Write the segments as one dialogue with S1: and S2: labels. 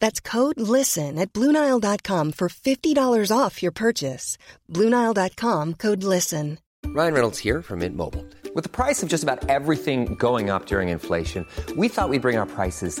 S1: That's code LISTEN at Bluenile.com for $50 off your purchase. Bluenile.com code LISTEN.
S2: Ryan Reynolds here from Mint Mobile. With the price of just about everything going up during inflation, we thought we'd bring our prices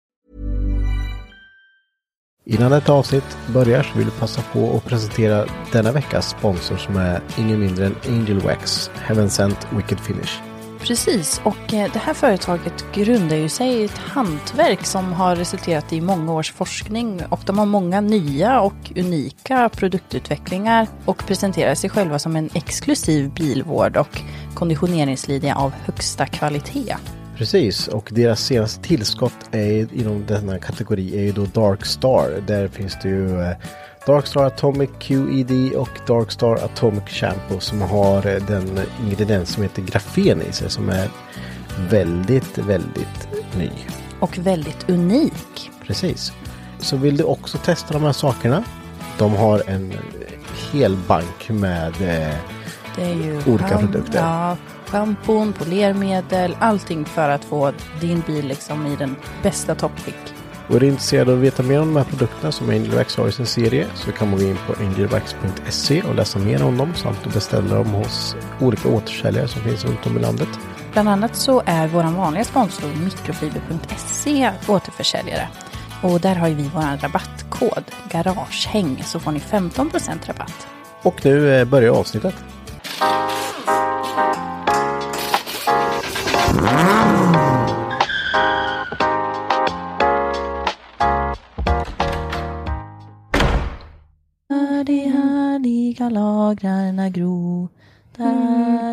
S3: Innan detta avsnitt börjar så vill vi passa på att presentera denna veckas sponsor som är ingen mindre än Angel Wax, Heaven Sent Wicked Finish.
S4: Precis, och eh, det här företaget grundar ju sig i ett hantverk som har resulterat i många års forskning och de har många nya och unika produktutvecklingar och presenterar sig själva som en exklusiv bilvård och konditioneringslinje av högsta kvalitet.
S3: Precis, och deras senaste tillskott är ju- inom denna kategori är ju då Dark Star. Där finns det ju eh, Dark Star Atomic QED och Dark Star Atomic Shampoo som har eh, den ingrediens som heter grafen i sig som är väldigt, väldigt ny.
S4: Och väldigt unik.
S3: Precis. Så vill du också testa de här sakerna? De har en hel bank med eh,
S4: Det är ju
S3: Olika
S4: schamp-
S3: produkter.
S4: Ja, schampon, polermedel, allting för att få din bil liksom i den bästa toppskick.
S3: Och är du intresserad av att veta mer om de här produkterna som Angelwax har i sin serie så kan man gå in på angelwax.se och läsa mer om dem samt att beställa dem hos olika återförsäljare som finns runt om i landet.
S4: Bland annat så är vår vanliga sponsor mikrofiber.se återförsäljare. Och där har ju vi vår rabattkod, garagehäng, så får ni 15% rabatt.
S3: Och nu eh, börjar avsnittet.
S4: De härliga lagrarna gro, där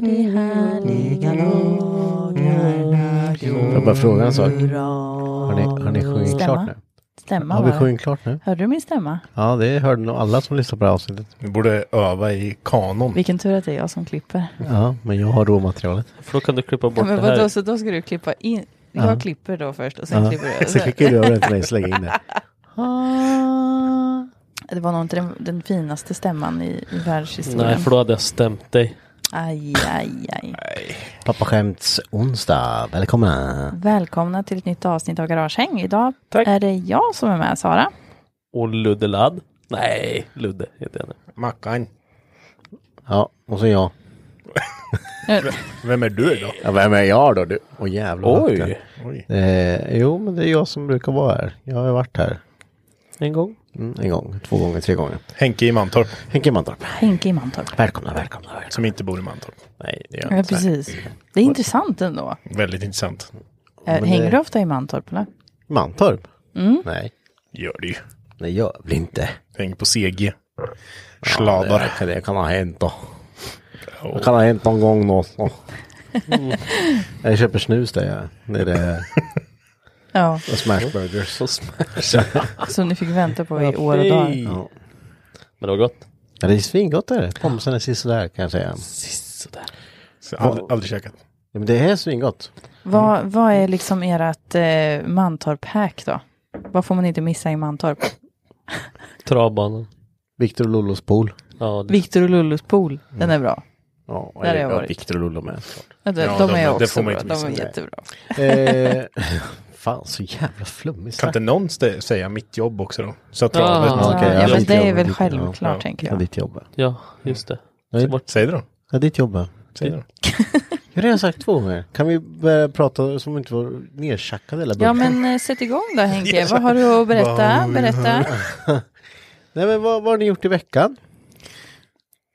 S4: de härliga lagrarna
S3: Får
S4: gro.
S3: jag bara fråga en sak? Har ni, har ni sjungit
S4: Stämma.
S3: klart nu?
S4: Stämma
S3: Har vi
S4: bara.
S3: sjungit klart nu?
S4: Hörde du min stämma?
S3: Ja, det hörde nog alla som lyssnade på det här avsnittet.
S5: Vi borde öva i kanon.
S4: Vilken tur att det är jag som klipper.
S3: Ja, men jag har råmaterialet.
S6: För då kan du klippa
S4: Ja,
S6: bort
S4: men
S6: det här.
S4: vadå, så då ska du klippa in? Jag
S3: Ja.
S4: klipper då först och sen
S3: Ja.
S4: klipper du.
S3: Så skickar du över den till mig och slänger in det.
S4: Det var nog inte den, den finaste stämman i, i världshistorien.
S6: Nej, för då hade jag stämt dig.
S4: Aj, aj, aj.
S3: Pappa skämts onsdag. Välkomna!
S4: Välkomna till ett nytt avsnitt av Garagehäng. Idag
S6: Tack.
S4: är det jag som är med, Sara.
S6: Och Ludde Ladd. Nej, Ludde heter jag nu.
S5: Mackan.
S3: Ja, och så jag.
S5: Vem är du då?
S3: Ja, vem är jag då? Du? Åh jävlar. vad högt det är.
S6: Oj,
S5: Oj.
S3: Eh, jo, men det är jag som brukar vara här. Jag har ju varit här
S6: en gång.
S3: mm, en gång, två gånger, tre gånger.
S5: Henke i Mantorp,
S3: Henke Mantorp.
S4: Henke i Mantorp.
S3: Välkomna, välkomna. välkomna.
S5: som inte bor i Mantorp.
S6: Nej, det gör jag
S4: Ja,
S6: inte.
S4: precis. Det är intressant ändå.
S5: Väldigt intressant.
S4: Eh,
S3: men
S4: Hänger
S3: det-
S4: du ofta i Mantorp, eller?
S3: Mantorp?
S4: Mm.
S3: Nej,
S5: Gör det ju.
S3: det gör väl inte.
S5: Hänger på CG.
S3: Det,
S5: Sladar.
S3: kan- det kan ha hänt då. Det
S5: Och
S3: kan ha hänt någon gång då. så. Jag köper snus där jag. Det är det.
S4: Ja,
S3: Och smashburgers.
S6: Så smärt.
S4: som ni fick vänta på i år och dagar.
S3: Ja.
S6: Men det var gott.
S3: Ja, det är svingott är det. Pomsen är sisådär kan jag säga.
S6: Sådär.
S5: så aldrig, aldrig käkat.
S3: Ja, men det är svingott.
S4: Vad, vad är liksom ert eh, Mantorp-hack då? Vad får man inte missa i Mantorp?
S6: Travbanan.
S3: Viktor och Lollos pool.
S6: Ja, det,
S4: Viktor och Lullus pool, den är bra.
S3: Ja,
S4: Där har jag varit.
S3: Viktor och Lollo med såklart.
S4: Ja, de,
S5: Ja,
S4: de
S5: de-
S4: är
S5: det
S4: också
S5: får man
S4: bra.
S5: inte
S4: De
S5: missa.
S4: är
S5: Nej.
S4: jättebra.
S3: Eh, fan så jävla flummig
S7: Kan
S3: snack.
S7: inte någon stä- säga mitt jobb också då? Så att
S6: Ja.
S7: travet.
S3: Ja, okej,
S4: ja,
S3: ja,
S4: men
S3: ditt
S4: det är
S3: jobb,
S4: väl
S3: ditt-
S4: självklart,
S3: ja,
S4: tänker
S3: Ja,
S4: jag.
S3: ditt jobb.
S6: Ja, just det.
S3: Nej.
S6: Så bort.
S7: Säg det då.
S3: Ja, ditt jobb.
S7: Säg det då.
S3: Jag har redan sagt två gånger. Kan vi börja prata som om vi inte var nertjackade hela
S4: Ja,
S3: början?
S4: men eh, sätt igång då Henke. Vad har du att berätta? Berätta.
S3: Nej, men vad, vad har ni gjort i veckan?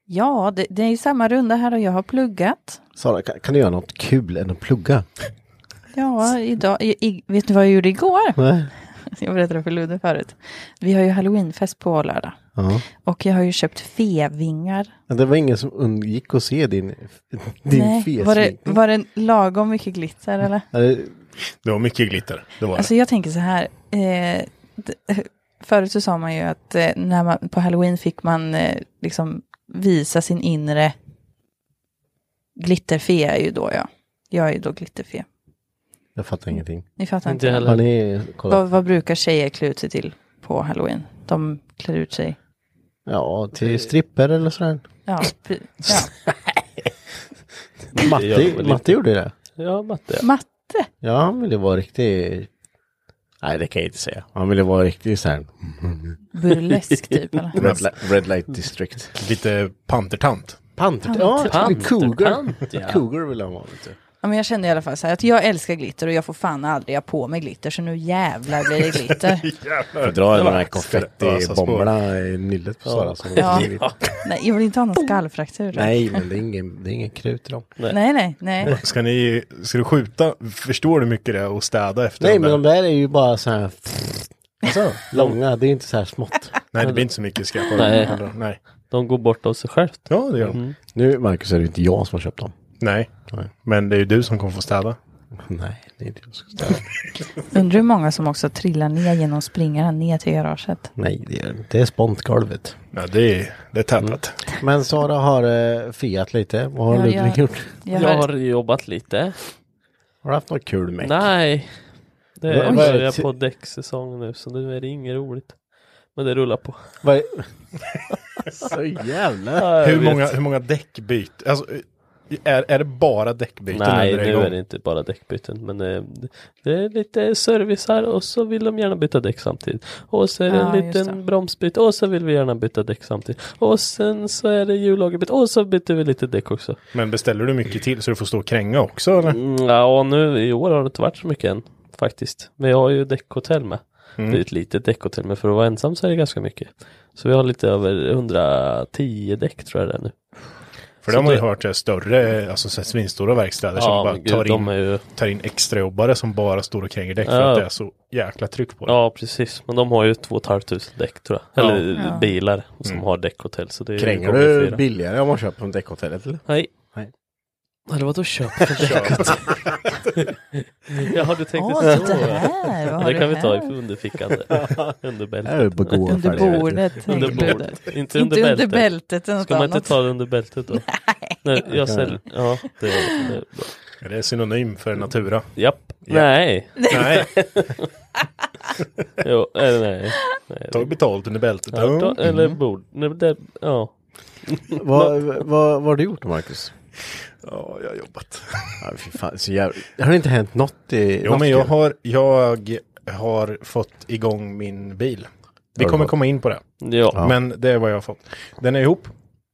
S4: Ja, det, det är samma runda här och jag har pluggat.
S3: Sara, kan, kan du göra något kul än att plugga?
S4: Ja, idag, i, i, vet du vad jag gjorde igår?
S3: Nej.
S4: Jag berättade för Ludde förut. Vi har ju halloweenfest på lördag.
S3: Ja.
S4: Och jag har ju köpt fevingar.
S3: Men Det var ingen som undgick att se din, din
S4: Nej, var, det,
S3: fesvinkning.
S4: var det lagom mycket glitter eller?
S3: Eller,
S7: Det var mycket glitter. Det var
S4: Alltså jag tänker så här. Eh, d- förut så sa man ju att eh, när man, på halloween fick man eh, liksom visa sin inre glitterfe är ju då jag. Jag är ju då glitterfe.
S3: Jag fattar ingenting.
S4: Ni fattar
S6: Inte
S4: inte?
S6: heller.
S3: Har ni kollat?
S4: Vad, vad brukar tjejer klä ut sig till på halloween? De klär ut sig.
S3: Ja, till stripper eller sådär.
S4: Ja, p- ja.
S6: gör de väl
S3: Matte,
S6: inte.
S3: Matte gjorde det.
S6: Ja, matte.
S4: Matte.
S3: Ja, han ville vara riktig... Nej, det kan jag inte säga. Han ville vara riktig så här... Alltså-
S4: Burlesk typ eller?
S3: Red, li- red light district.
S7: lite Eh, pantertant.
S3: Panter... Ja,
S6: Panter-
S3: cougar.
S6: pant, ja.
S3: Cougar ville han vara. Vet du.
S4: Ja, men jag kände i alla fall så här att jag älskar glitter och jag får fan aldrig ha på mig glitter så nu jävlar blir det glitter.
S3: Får dra de här
S7: Ska det ösas på?
S3: konfettibomberna i nyllet på Sara. så-
S4: Ja. Nej, jag vill inte ha någon skallfraktur.
S3: Nej, men det är ingen, det är ingen krut i dem.
S4: nej, nej. nej.
S7: Ska, ni, ska du skjuta? Förstår du mycket det och städa efter?
S3: Nej,
S7: dem
S3: men
S7: där?
S3: de där är ju bara så här... Alltså, långa, det är inte så här smått.
S7: Nej, det blir inte så mycket skräp av
S6: Nej.
S7: dem. Nej.
S6: De går bort av sig självt.
S7: Ja, det gör de.
S3: Nu, Marcus, är det inte jag som har köpt dem.
S7: Nej.
S3: Nej.
S7: men det är ju du som kommer få städa.
S3: Nej, det är inte jag som ska ställa.
S4: Undrar hur många som också trillar ner genom springan ner till garaget.
S3: Nej, det är det inte. Det är spontgolvet.
S7: Ja, det är, det är tätat.
S3: Men Sara har eh, fiat lite. Vad har
S4: Ja,
S3: Ludvig
S4: jag-
S3: gjort?
S4: Jag
S6: Jag
S4: har,
S6: har jobbat lite.
S3: Har du haft något kul med?
S6: Nej. Det
S3: Vad-
S6: är
S3: vad är det
S6: börjar
S3: till-
S6: på däcksäsong nu så nu är det inget roligt. Men det rullar på.
S3: Vad är- så jävla...
S6: Ja, jag
S7: Hur
S6: vet.
S7: många, hur många däckbyt? Alltså, är, är det bara däckbyten?
S6: Nej,
S7: under
S6: nu
S7: igång?
S6: är det inte bara däckbyten. Men eh, det är lite service här och så vill de gärna byta däck samtidigt. Och så är det
S4: Ja,
S6: en
S4: just det.
S6: liten bromsbyte och så vill vi gärna byta däck samtidigt. Och sen så är det hjullagerbyte och så byter vi lite däck också.
S7: Men beställer du mycket till så du får stå och kränga också eller?
S6: Mm, ja, och nu i år har det inte varit så mycket än faktiskt. Men jag har ju däckhotell med.
S7: Mm.
S6: Det är ett litet däckhotell, men för att vara ensam så är det ganska mycket. Så vi har lite över 110 däck tror jag det är nu.
S7: För
S6: Så
S7: de har ju
S6: det-
S7: hört det större, alltså så här svinstora verkstäder som
S6: Ja,
S7: bara
S6: men gud,
S7: tar, in,
S6: de är ju...
S7: tar in extrajobbare som bara står och kränger däck för
S6: Ja.
S7: att det är så jäkla tryck på det.
S6: Ja, precis. Men de har ju 2 500 däck tror jag. Eller
S4: Ja.
S6: bilar som
S7: Mm.
S6: har däckhotell. Så det är ju
S3: Kränger
S6: gånger
S3: du
S6: fyra.
S3: billigare om man köper från däckhotellet eller?
S6: Nej.
S3: Nej.
S6: Eller vadå köp från däckhotell? Jaha, du tänkte
S4: Åh,
S6: så.
S4: titta här! Vad har
S6: det
S4: du
S6: kan vi ta i
S4: här?
S6: underfickan. under
S3: Det är ju
S6: bältet.
S3: begåvad
S4: Under
S3: färdighet.
S4: bordet.
S6: Under
S4: tänkte du.
S6: bordet. Inte
S4: Inte
S6: under bältet.
S4: under bältet. eller något
S6: Ska man inte
S4: annat.
S6: ta det under bältet då? Nej. jag säljer. Ja, det, det,
S7: Är det synonym för natura?
S6: japp. Nej.
S7: Nej,
S6: Jo, eller nej. nej.
S7: ta betalt under bältet.
S6: Ja,
S7: Ja.
S6: ta- Eller Mm. bord. Nej, men det, ja.
S3: Mm. Vad, vad, vad har du gjort då Marcus?
S7: ja, jag har jobbat.
S3: Ja, fy fan, så jävla... Det har inte hänt något i...
S7: Jo,
S3: något
S7: men jag
S3: kul.
S7: har, jag har fått igång min bil. Vi
S3: Har du
S7: kommer
S3: fått?
S7: komma in på det.
S6: Ja.
S3: Ja.
S7: Men det är vad jag har fått. Den är ihop.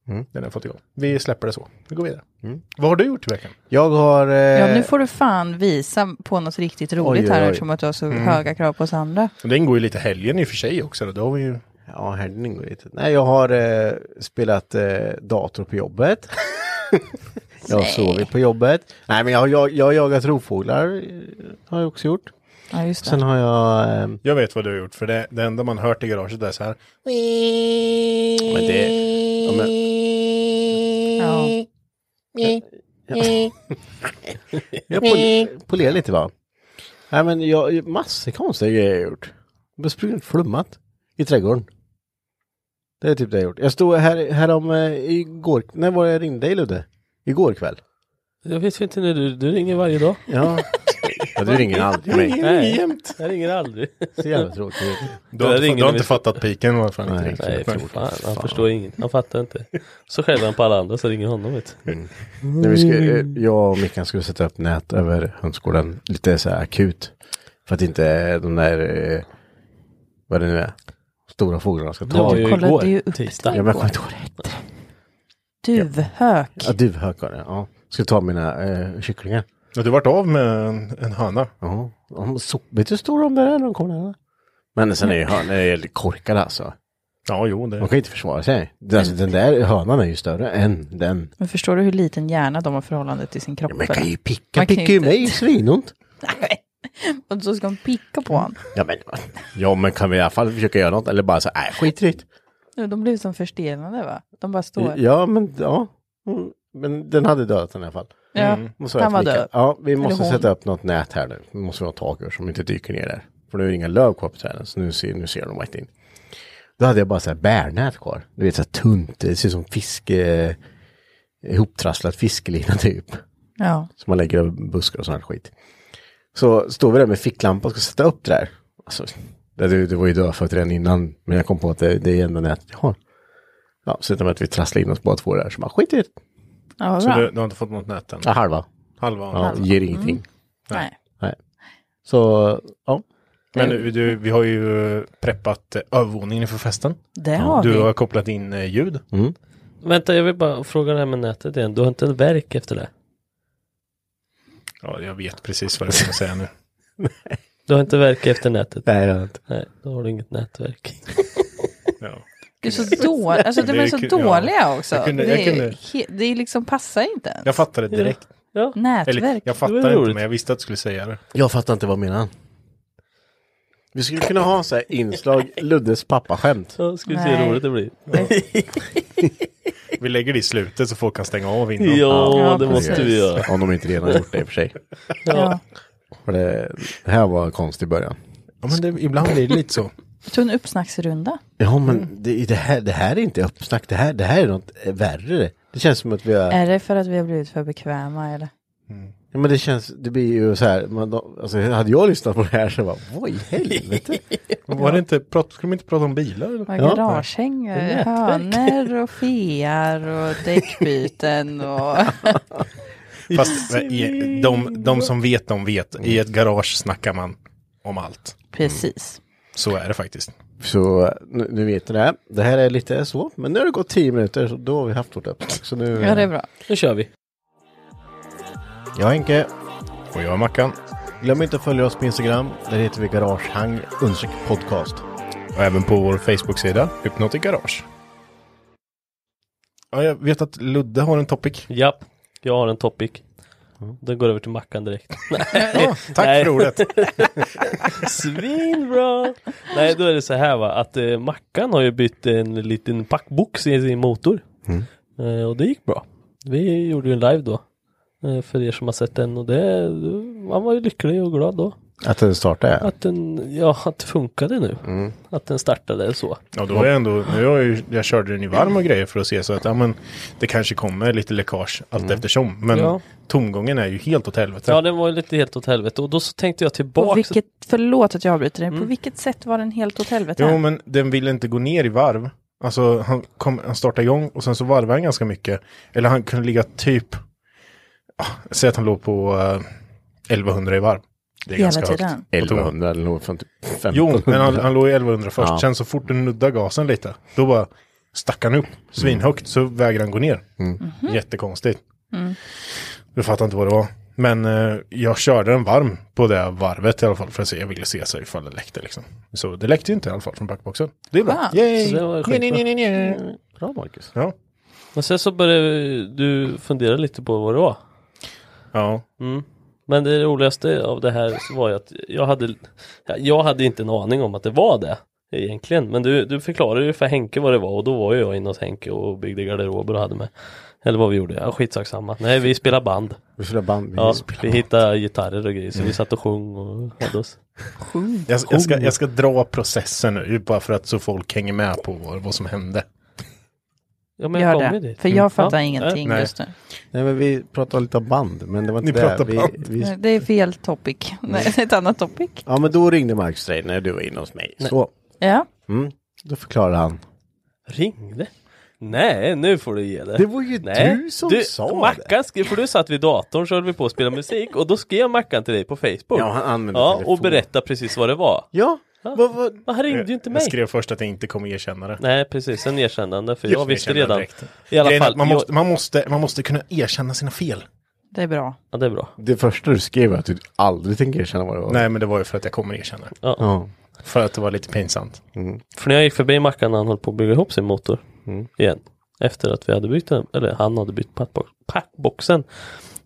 S7: Den har jag fått igång. Vi släpper det så. Vi går vidare. Mm.
S3: Mm.
S7: Vad har du gjort i veckan?
S3: Jag har... Eh...
S4: Ja, nu får du fan visa på något riktigt roligt
S3: Oj, oj, oj.
S4: här
S3: Mm.
S4: eftersom att du har så höga krav på oss andra.
S7: Den går ju lite helgen i och för sig också. Då har vi ju...
S3: Ja, helgen går lite. Nej, jag har eh, spelat eh, dator på jobbet. jag har sovit på jobbet. Nej, men jag har, jag, jag har jagat rovfåglar. eh, Har jag också gjort.
S4: Ja, just det.
S3: Sen har jag... Eh,
S7: Jag vet vad du har gjort, för det, det enda man hört i garaget är så här.
S3: men det... Ja, men, Mm.
S4: Ja.
S3: jag pol- polerar lite va? Nej, men jag... Massor konstiga grejer jag har gjort. Jag har sprungit flummat i trädgården. Det är typ det jag har gjort. Jag stod här, härom... Eh, igår... När var det jag ringde dig Ludde? Igår kväll.
S6: Jag vet inte nu, du, du ringer varje dag.
S3: Ja. ja du ringer aldrig mig.
S6: Nej, jämt. jag ringer aldrig.
S3: Så jävla tråkigt.
S7: Du har,
S6: Det
S7: inte,
S6: ringer
S7: du har
S6: vi-
S7: inte fattat piken varför han
S3: Nej,
S7: inte
S6: Nej,
S7: ringt.
S6: för
S7: Men-
S6: fan. Han förstår inget. Han fattar inte. Så skäller han på alla andra så ringer honom vet du.
S3: Mm. När vi ska, eh, jag och Mickan skulle sätta upp nät över hönsgården lite så här akut. För att inte de där, eh, vad det nu är, stora fåglarna ska
S6: Det var
S3: ta.
S6: ju
S4: Jag kollade
S6: igår,
S4: ju upp
S6: tisdag.
S3: Ja, men jag kommer inte ihåg det.
S4: Duvhök.
S3: Ja, duvhökar, ja. Ska ta mina eh, kycklingar.
S7: Ja, du vart av med en, en höna.
S3: Ja, de so- vet du hur stora de där är när de kommer nära? Men sen är ju hönor helt korkade alltså.
S7: Ja, jo, det...
S3: De kan ju inte försvara sig. Det- Alltså, den där hönan är ju större än den.
S4: Men förstår du hur liten hjärna de har förhållande till sin kropp?
S3: Ja, men kan ju picka,
S4: Man kan ju
S3: picka ju
S4: inte-
S3: mig svinont.
S4: Och så ska de picka på honom.
S3: Ja men, ja men kan vi i alla fall försöka göra något eller bara så, nej skit i det.
S4: Nu, De blev som förstelnade va? De bara står.
S3: Ja men ja. Mm, Men den hade dödat den i alla fall.
S4: Ja.
S7: Mm.
S3: Och så har jag
S4: Den var
S3: flickan.
S4: död.
S3: Ja, vi måste
S4: hon.
S3: sätta upp något nät här nu. Nu måste vi ha tak över som inte dyker ner där. För nu är det inga löv kvar på träden så nu ser, nu ser de rätt in. Då hade jag bara så här bärnät kvar. Du vet så här tunt, det ser ut som fiske, eh, ihoptrasslat fiskelina typ.
S4: ja.
S3: Som man lägger över buskar och sån här skit. Så står vi där med ficklampa och ska sätta upp det där. Alltså, det, det det var ju dödfött redan innan. Men jag kom på att det, det är enda nätet jag har. Ja, så utan att vi trasslade in oss båda två där. Så man skit i det.
S4: Ja, vad
S7: Så
S4: bra.
S7: du, du har inte fått något nät än?
S3: Ja, halva.
S7: Halva.
S3: Ja, ger ingenting.
S4: Nej.
S3: Så, ja.
S7: Men eh, du, vi har ju eh, preppat eh, övervåningen inför festen.
S4: Det har
S7: Du
S4: vi.
S7: har kopplat in eh, ljud.
S6: Vänta, jag vill bara fråga det här med nätet igen. Du har inte en verk efter det?
S7: Ja, jag vet precis vad du ska säga nu.
S6: Du har inte verk efter nätet?
S3: Nej, det har jag inte.
S6: Nej, då har du inget nätverk.
S7: Ja.
S4: Du är så dålig. Alltså de är så
S7: Det kunde- ja.
S4: dåliga också.
S7: Jag kunde-
S4: det,
S7: jag kunde-
S4: är, he, det är liksom passar inte ens.
S7: Jag fattade direkt.
S6: Ja.
S7: Eller,
S4: Nätverk.
S7: jag
S6: Det
S7: fattade
S6: var
S7: inte,
S6: roligt.
S7: men jag visste att du skulle säga det.
S3: Jag fattar inte vad menar han. Vi skulle kunna ha så här inslag, Luddes pappaskämt.
S6: Ja, ska vi se
S4: Nej.
S6: hur roligt det blir.
S7: Vi lägger det i slutet så folk kan stänga av innan.
S6: Ja,
S4: Ja,
S6: det
S4: precis.
S6: måste vi göra.
S3: Om de inte redan gjort det i och för sig.
S4: Ja.
S3: För det, det här var konstigt i början.
S7: Ja, men det, ibland blir det lite så.
S4: Jag tog en uppsnacksrunda.
S3: Ja
S4: Mm.
S3: men det, det, här, det här är inte uppsnack, det här, det här är något eh, värre. Det känns som att vi har,
S4: Är det för att vi har blivit för bekväma eller?
S3: ja, men det känns, det blir ju så här, man, alltså hade jag lyssnat på det här så bara, vad i helvete?
S7: Var det inte, prat, skulle man inte prata om bilar? eller?
S4: Ja,
S3: Ja.
S4: garagehängor,
S3: Nätverk.
S4: hönor eh, och fear och däckbyten och...
S7: Fast eh, i, de, de som vet, de vet. I ett garage snackar man om allt.
S4: Precis.
S7: Så är det faktiskt.
S3: Så nu, nu vet ni det, det här är lite så, men nu har det gått tio minuter så då har vi haft vårt uppsnack. Så nu,
S4: Ja, det är bra.
S6: Nu kör vi.
S3: jag är Henke,
S7: Och jag är Mackan.
S3: glöm inte att följa oss på Instagram, där heter vi garagehang understreck podcast.
S7: Och även på vår Facebook-sida, Hypnotic Garage. Ja, jag vet att Ludde har en topic.
S6: Japp, jag har en topic. Den går över till Mackan direkt.
S7: Ja, tack
S6: Nej.
S7: för ordet.
S6: Svinbra! Nej, då är det så här va, att eh, Mackan har ju bytt en liten packbox i sin motor.
S3: Mm.
S6: Eh, och det gick bra. Vi gjorde ju en live då. Eh, för er som har sett den och det, man var ju lycklig och glad då.
S3: Att den startar ja.
S6: Att den, ja, att det funkade nu.
S3: Mm.
S6: Att den startade och så.
S7: Ja, då är jag ändå, nu har jag, ju, jag körde den i varm och grejer för att se så att ja, men, det kanske kommer lite läckage allt eftersom. Men
S6: Ja.
S7: tomgången är ju helt åt helvete.
S6: Ja, den var ju lite helt åt helvete och då så tänkte jag tillbaka.
S4: På vilket, förlåt att jag avbryter dig, på vilket sätt var den helt åt helvete?
S7: Jo, men den ville inte gå ner i varv. Alltså han, kom, han startade igång och sen så varvade han ganska mycket. Eller han kunde ligga typ, ah, säg att han låg på eh, 1100 i varv. Det är
S4: Hela
S7: ganska
S4: tiden.
S7: högt. på tomgången.
S3: 1100 eller något från typ 1500.
S7: Jo, men han, han låg i 1100 först.
S3: Ja.
S7: Sen så fort du nuddar gasen lite, då bara stack han upp svinhögt så vägrar han gå ner.
S6: Mm.
S7: Jättekonstigt. Du fattar inte vad det var. Men eh, jag körde den varm på det varvet i alla fall för att se. Jag ville se så ifall det läckte liksom. Så det läckte ju inte i alla fall från backboxen. Det är bra.
S4: Skönt.
S7: Yay!
S6: Så det var
S7: Nej,
S6: skitbra.
S7: nej, nej, nej, nej.
S3: Bra Marcus.
S7: Ja.
S6: Men sen så började du fundera lite på vad det var.
S7: Ja.
S6: Men det roligaste av det här så var ju att jag hade, jag hade inte en aning om att det var det egentligen. Men du, du förklarade ju för Henke vad det var och då var ju jag inne hos Henke och byggde garderober och hade med. Eller vad vi gjorde, ja, skitsamma. Nej, vi spelade band.
S3: Vi spelar band. Mm.
S6: Ja,
S3: spelar
S6: vi hittade gitarrer och grejer så vi satt och sjöng och hade oss.
S7: Jag, jag, ska, jag ska dra processen nu bara för att så folk hänger med på vad, vad som hände.
S6: Ja, men jag
S4: Gör
S6: kom ju
S4: det,
S6: dit. Mm.
S4: för jag fattar
S6: Ja,
S4: ingenting
S7: nej.
S4: just nu.
S3: Nej men vi pratade lite om band, men det var inte
S7: Ni
S3: det.
S7: pratar
S3: Vi,
S7: band.
S3: vi...
S4: Det är fel topic. Nej, ett annat topic.
S3: Ja men då ringde Marcus dig när du var inne hos mig. Så,
S4: Ja,
S3: mm, då förklarade han.
S6: Ringde? Nej, nu får du ge det.
S8: Det var ju du som sa
S6: Mackan skrev, för du satt vid datorn så höll vi på att spela musik och då skrev Mackan till dig på Facebook.
S8: Ja, han använde
S6: Ja,
S8: telefon.
S6: och berättade precis vad det var.
S8: Ja,
S6: Ja.
S8: vad- vad-
S6: Men han ringde ju inte
S3: Jag
S6: mig.
S3: Eh, skrev först att jag inte kommer erkänna det.
S6: Nej, precis. En erkännande, för
S3: Just
S6: jag
S3: det,
S6: visste
S3: erkänna
S6: redan.
S3: direkt.
S6: I alla
S3: Grejen är
S6: fall,
S3: att man,
S6: jag-
S3: måste, man, måste, man måste kunna erkänna sina fel.
S4: Det är bra.
S6: Ja, det är bra.
S7: Det första du skrev var att du aldrig tänker erkänna vad det var.
S3: Nej, men det var ju för att jag kommer erkänna det.
S7: Ja.
S3: För att det var lite pinsamt.
S6: För när jag gick förbi Mackan när han höll på att bygga ihop sin motor
S3: Mm.
S6: igen. Efter att vi hade bytt den, eller han hade bytt packbox, packboxen.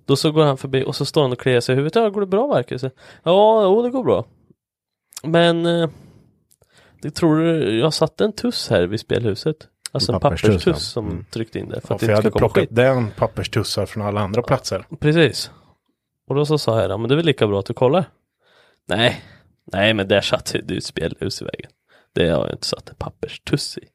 S6: Då så går han förbi och så står han och kliar sig i huvudet. Ja, går det bra Marcus? Ja, jo, det går bra. Men eh, det tror du, jag satte en tuss här vid spelhuset. Alltså en
S7: En papperstuss,
S6: papperstuss
S7: ja.
S6: som
S7: Mm.
S6: tryckte in där. För
S3: Ja,
S6: att det
S3: för jag
S6: inte ska
S3: hade
S6: komma skit.
S3: plockat den papperstussar från alla andra platser.
S6: Precis. Och då så sa jag, ja men det är väl lika bra att du kollar. Nej, nej men där satte du ett spelhus i vägen. Det har jag inte satt en papperstuss i.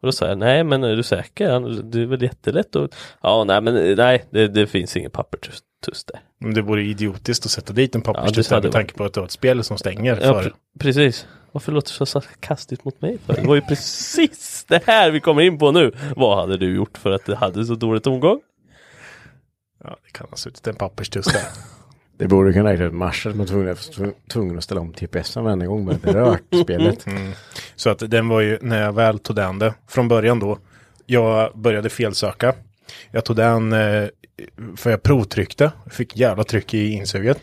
S6: Och då sa jag, nej men är du säker? Han- Det är väl jättelätt att... Ja, nej men nej, det, det finns ingen papperstuss där.
S3: Men det vore idiotiskt att sätta dit en
S6: det
S3: papperstuss
S6: hade
S3: med
S6: varit.
S3: tanke på att det var ett spel som stänger.
S6: Ja,
S3: för...
S6: pre- precis. Varför låter du så sarkastiskt mot mig? För? Det var ju precis det här vi kommer in på nu. Vad hade du gjort för att det hade så dåligt omgång?
S3: ja, det kan ha suttit en papperstuss där.
S7: Det borde kunna räkna ut marschen som var tvungen, tvungen att ställa om TPSen varenda gång med det rök spelet.
S3: Mm. Så att den var ju, när jag väl tog den det, från början då, jag började felsöka. Jag tog den, eh, för jag provtryckte, fick jävla tryck i insuget.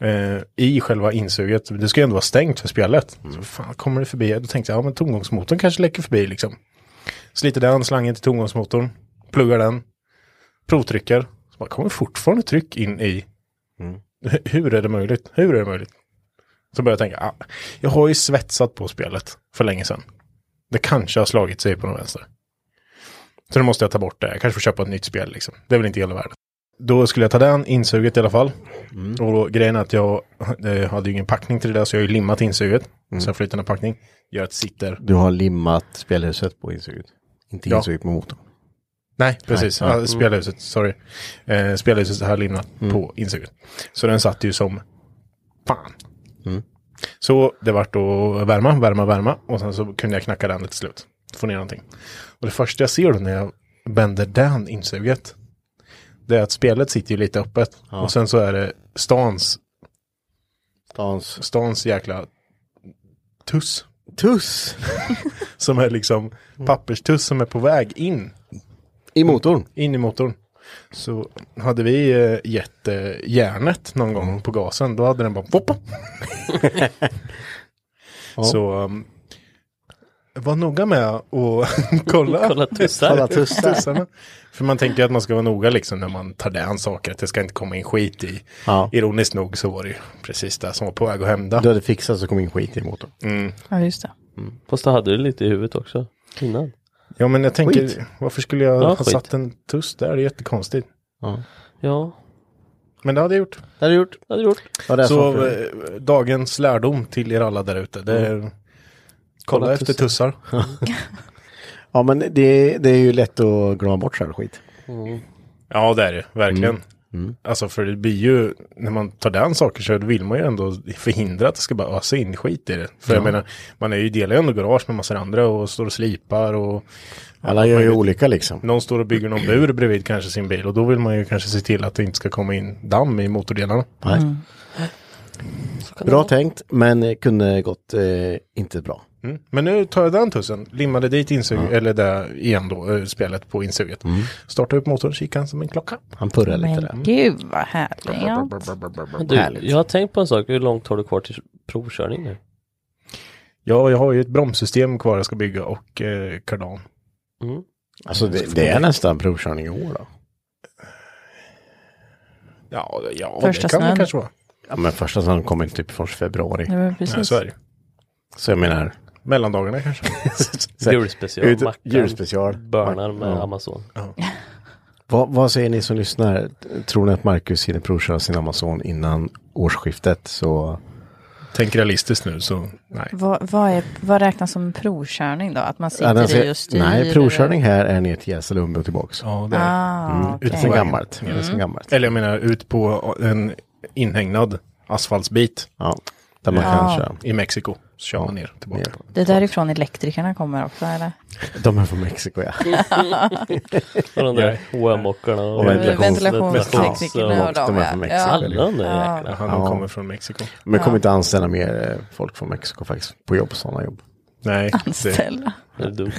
S3: Eh, I själva insuget, det ska ju ändå vara stängt för spelet. Så fan, kommer det förbi? Då tänkte jag, ja men tomgångsmotorn kanske läcker förbi liksom. Sliter den slangen till tomgångsmotorn, pluggar den, provtrycker. Så bara, kommer fortfarande tryck in i. Hur är det möjligt? Hur är det möjligt? Så började jag tänka, ah, jag har ju svetsat på spelet för länge sedan. Det kanske har slagit sig på den vänster. Så nu måste jag ta bort det. Jag kanske får köpa ett nytt spel liksom. Det är väl inte hela världen. Då skulle jag ta den, insuget i alla fall. Och då, grejen är att jag eh, hade ju ingen packning till det där så jag har ju limmat insuget. Sen flyttade en packning. Gör att det sitter.
S7: Du har limmat spelhuset på insuget. Inte
S3: Ja.
S7: insuget på motorn.
S3: Nej, precis.
S7: Nej.
S3: Ja, Mm. spelhuset, sorry. Eh, spelhuset har jag limmat på insuget. Så den satt ju som fan. Mm. Så det vart att värma, värma, värma och sen så kunde jag knacka den till slut. Få ner någonting. Och det första jag ser då när jag bänder den insuget. Det är att spelet sitter ju lite öppet. Och sen så är det stans,
S7: Stans.
S3: stans jäkla tuss.
S7: Tuss!
S3: Som är liksom papperstuss som är på väg in.
S7: I motorn.
S3: in i motorn. Så hade vi eh, gett eh, järnet någon gång
S7: Mm.
S3: på gasen, då hade den bara Woppa! Så um, var noga med att kolla,
S6: Kolla tussar.
S7: Kolla tussar.
S3: tussarna. För man tänker ju att man ska vara noga liksom när man tar den saker, att det ska inte komma in skit i.
S7: Ja.
S3: Ironiskt nog så var det ju precis det som var på väg att hända.
S7: Du hade fixat så kom in skit i motorn.
S4: Ja, just det.
S6: Fast det hade du lite i huvudet också. Innan.
S3: Ja men jag tänker,
S7: Skit.
S3: varför skulle jag
S6: Ja,
S3: ha
S6: skit.
S3: satt en tuss där? Det är jättekonstigt.
S6: Ja,
S3: Men det hade jag gjort.
S7: Det hade du gjort.
S6: det hade du gjort.
S7: Ja, det är så,
S3: Så eh, dagens lärdom till er alla där ute. Det är,
S7: Mm.
S3: Kolla,
S6: Kolla
S3: efter tussar.
S7: ja men det, det är ju lätt att glömma bort själv skit. Mm.
S3: Ja, det är det. Verkligen. Alltså för det blir ju, när man tar den saker så vill man ju ändå förhindra att det ska bara ösa in skit i det. För jag menar, man är ju delar ju ändå garage med massor andra och står och slipar och
S7: Alla gör ju olika liksom.
S3: någon står och bygger någon bur bredvid kanske sin bil och då vill man ju kanske se till att det inte ska komma in damm i motordelarna.
S7: Nej.
S4: Mm.
S7: Bra tänkt men eh, kunde gått eh, inte bra.
S3: Mm. Men nu tar jag den tussen, limmade dit insug, eller det igen då, eh, spelet på insuget. Startade upp motorn, kikade som en klocka.
S7: Mm. Han purrar lite där.
S4: Men gud vad härligt.
S6: Men du,
S7: Härligt.
S6: jag har tänkt på en sak. Hur långt har du kvar till provkörning nu?
S3: Ja, jag har ju ett bromssystem kvar jag ska bygga och eh, kardan.
S6: Mm.
S7: Alltså det, det är nästan provkörning i år då.
S3: Ja, det- ja
S4: Första
S3: det kan
S4: snön.
S3: det kanske vara.
S7: Ja men första snön kommer inte typ förrän februari.
S4: Ja, men
S3: Nej,
S4: precis.
S3: så är det.
S7: Så jag menar.
S3: Mellandagarna kanske.
S7: Så-
S6: Julspecial,
S7: ut-
S6: Mackan.
S7: Julspecial.
S6: Börnar med
S7: Ja.
S6: Amazon.
S7: Vad, vad säger ni som lyssnar? Tror ni att Marcus hinner provköra sin Amazon innan årsskiftet så
S3: Tänk realistiskt nu så nej.
S4: Vad, vad, är, vad räknas som provkörning då?
S3: Äh,
S4: Att man sitter
S7: Ja, den
S3: alltså,
S7: ser-
S4: i och styr?
S7: Nej, provkörning här är ner till Gäsle, Lundby och tillbaks.
S3: Ja, det är.
S4: Ah, okej.
S7: Det är Mm. så Mm. gammalt. Det är så gammalt.
S3: Eller jag menar ut på en inhägnad asfaltsbit.
S7: Ja.
S3: Där man
S4: Ja.
S3: kan köra.
S7: I Mexiko. Så kör man ner tillbaka.
S3: Ner.
S4: Ah. Det är därifrån elektrikerna kommer också eller?
S3: De är från Mexiko ja.
S6: Och de där HM-ockarna och
S3: Och ventilationsteknikerna.
S4: Ventilationsteknikerna
S6: och
S4: och de
S3: de är från
S4: ja.
S3: Mexiko.
S4: ja.
S6: alla de där
S7: Ja,
S6: jäklarna.
S7: Han
S3: Ja.
S7: kommer från Mexiko.
S3: Men jag kommer inte anställa mer eh, folk från Mexiko faktiskt. På jobb, sådana jobb.
S7: Nej, det,
S4: Ställa
S6: Det är dumt.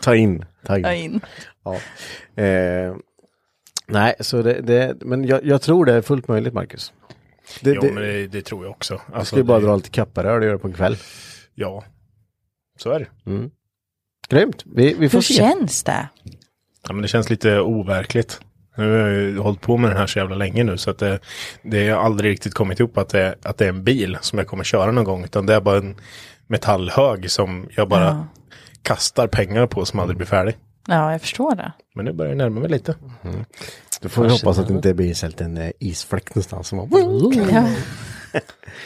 S3: Ta in. Ta in.
S4: ja, in.
S3: Ja. Eh, nej, så det, det men jag, jag tror det är fullt möjligt Marcus. Det,
S7: jo,
S3: det,
S7: men det, det tror jag också.
S3: du
S7: Alltså,
S3: ska ju bara
S7: det-
S3: dra lite kapparöl och göra det på en kväll.
S7: Ja, så är det.
S3: Mm. Grymt, vi, vi får
S4: Hur
S3: se.
S4: känns det?
S7: Ja, men det känns lite overkligt. Nu har jag ju hållit på med den här så jävla länge nu så att det, det har aldrig riktigt kommit upp att det, att det är en bil som jag kommer köra någon gång utan det är bara en metallhög som jag bara kastar pengar på som aldrig blir färdig.
S4: Ja, jag förstår det.
S7: Men nu börjar jag närma mig lite.
S3: Då Mm. får vi hoppas att det inte blir så här en liten, eh, isfläkt någonstans. Som bara...
S4: Ja,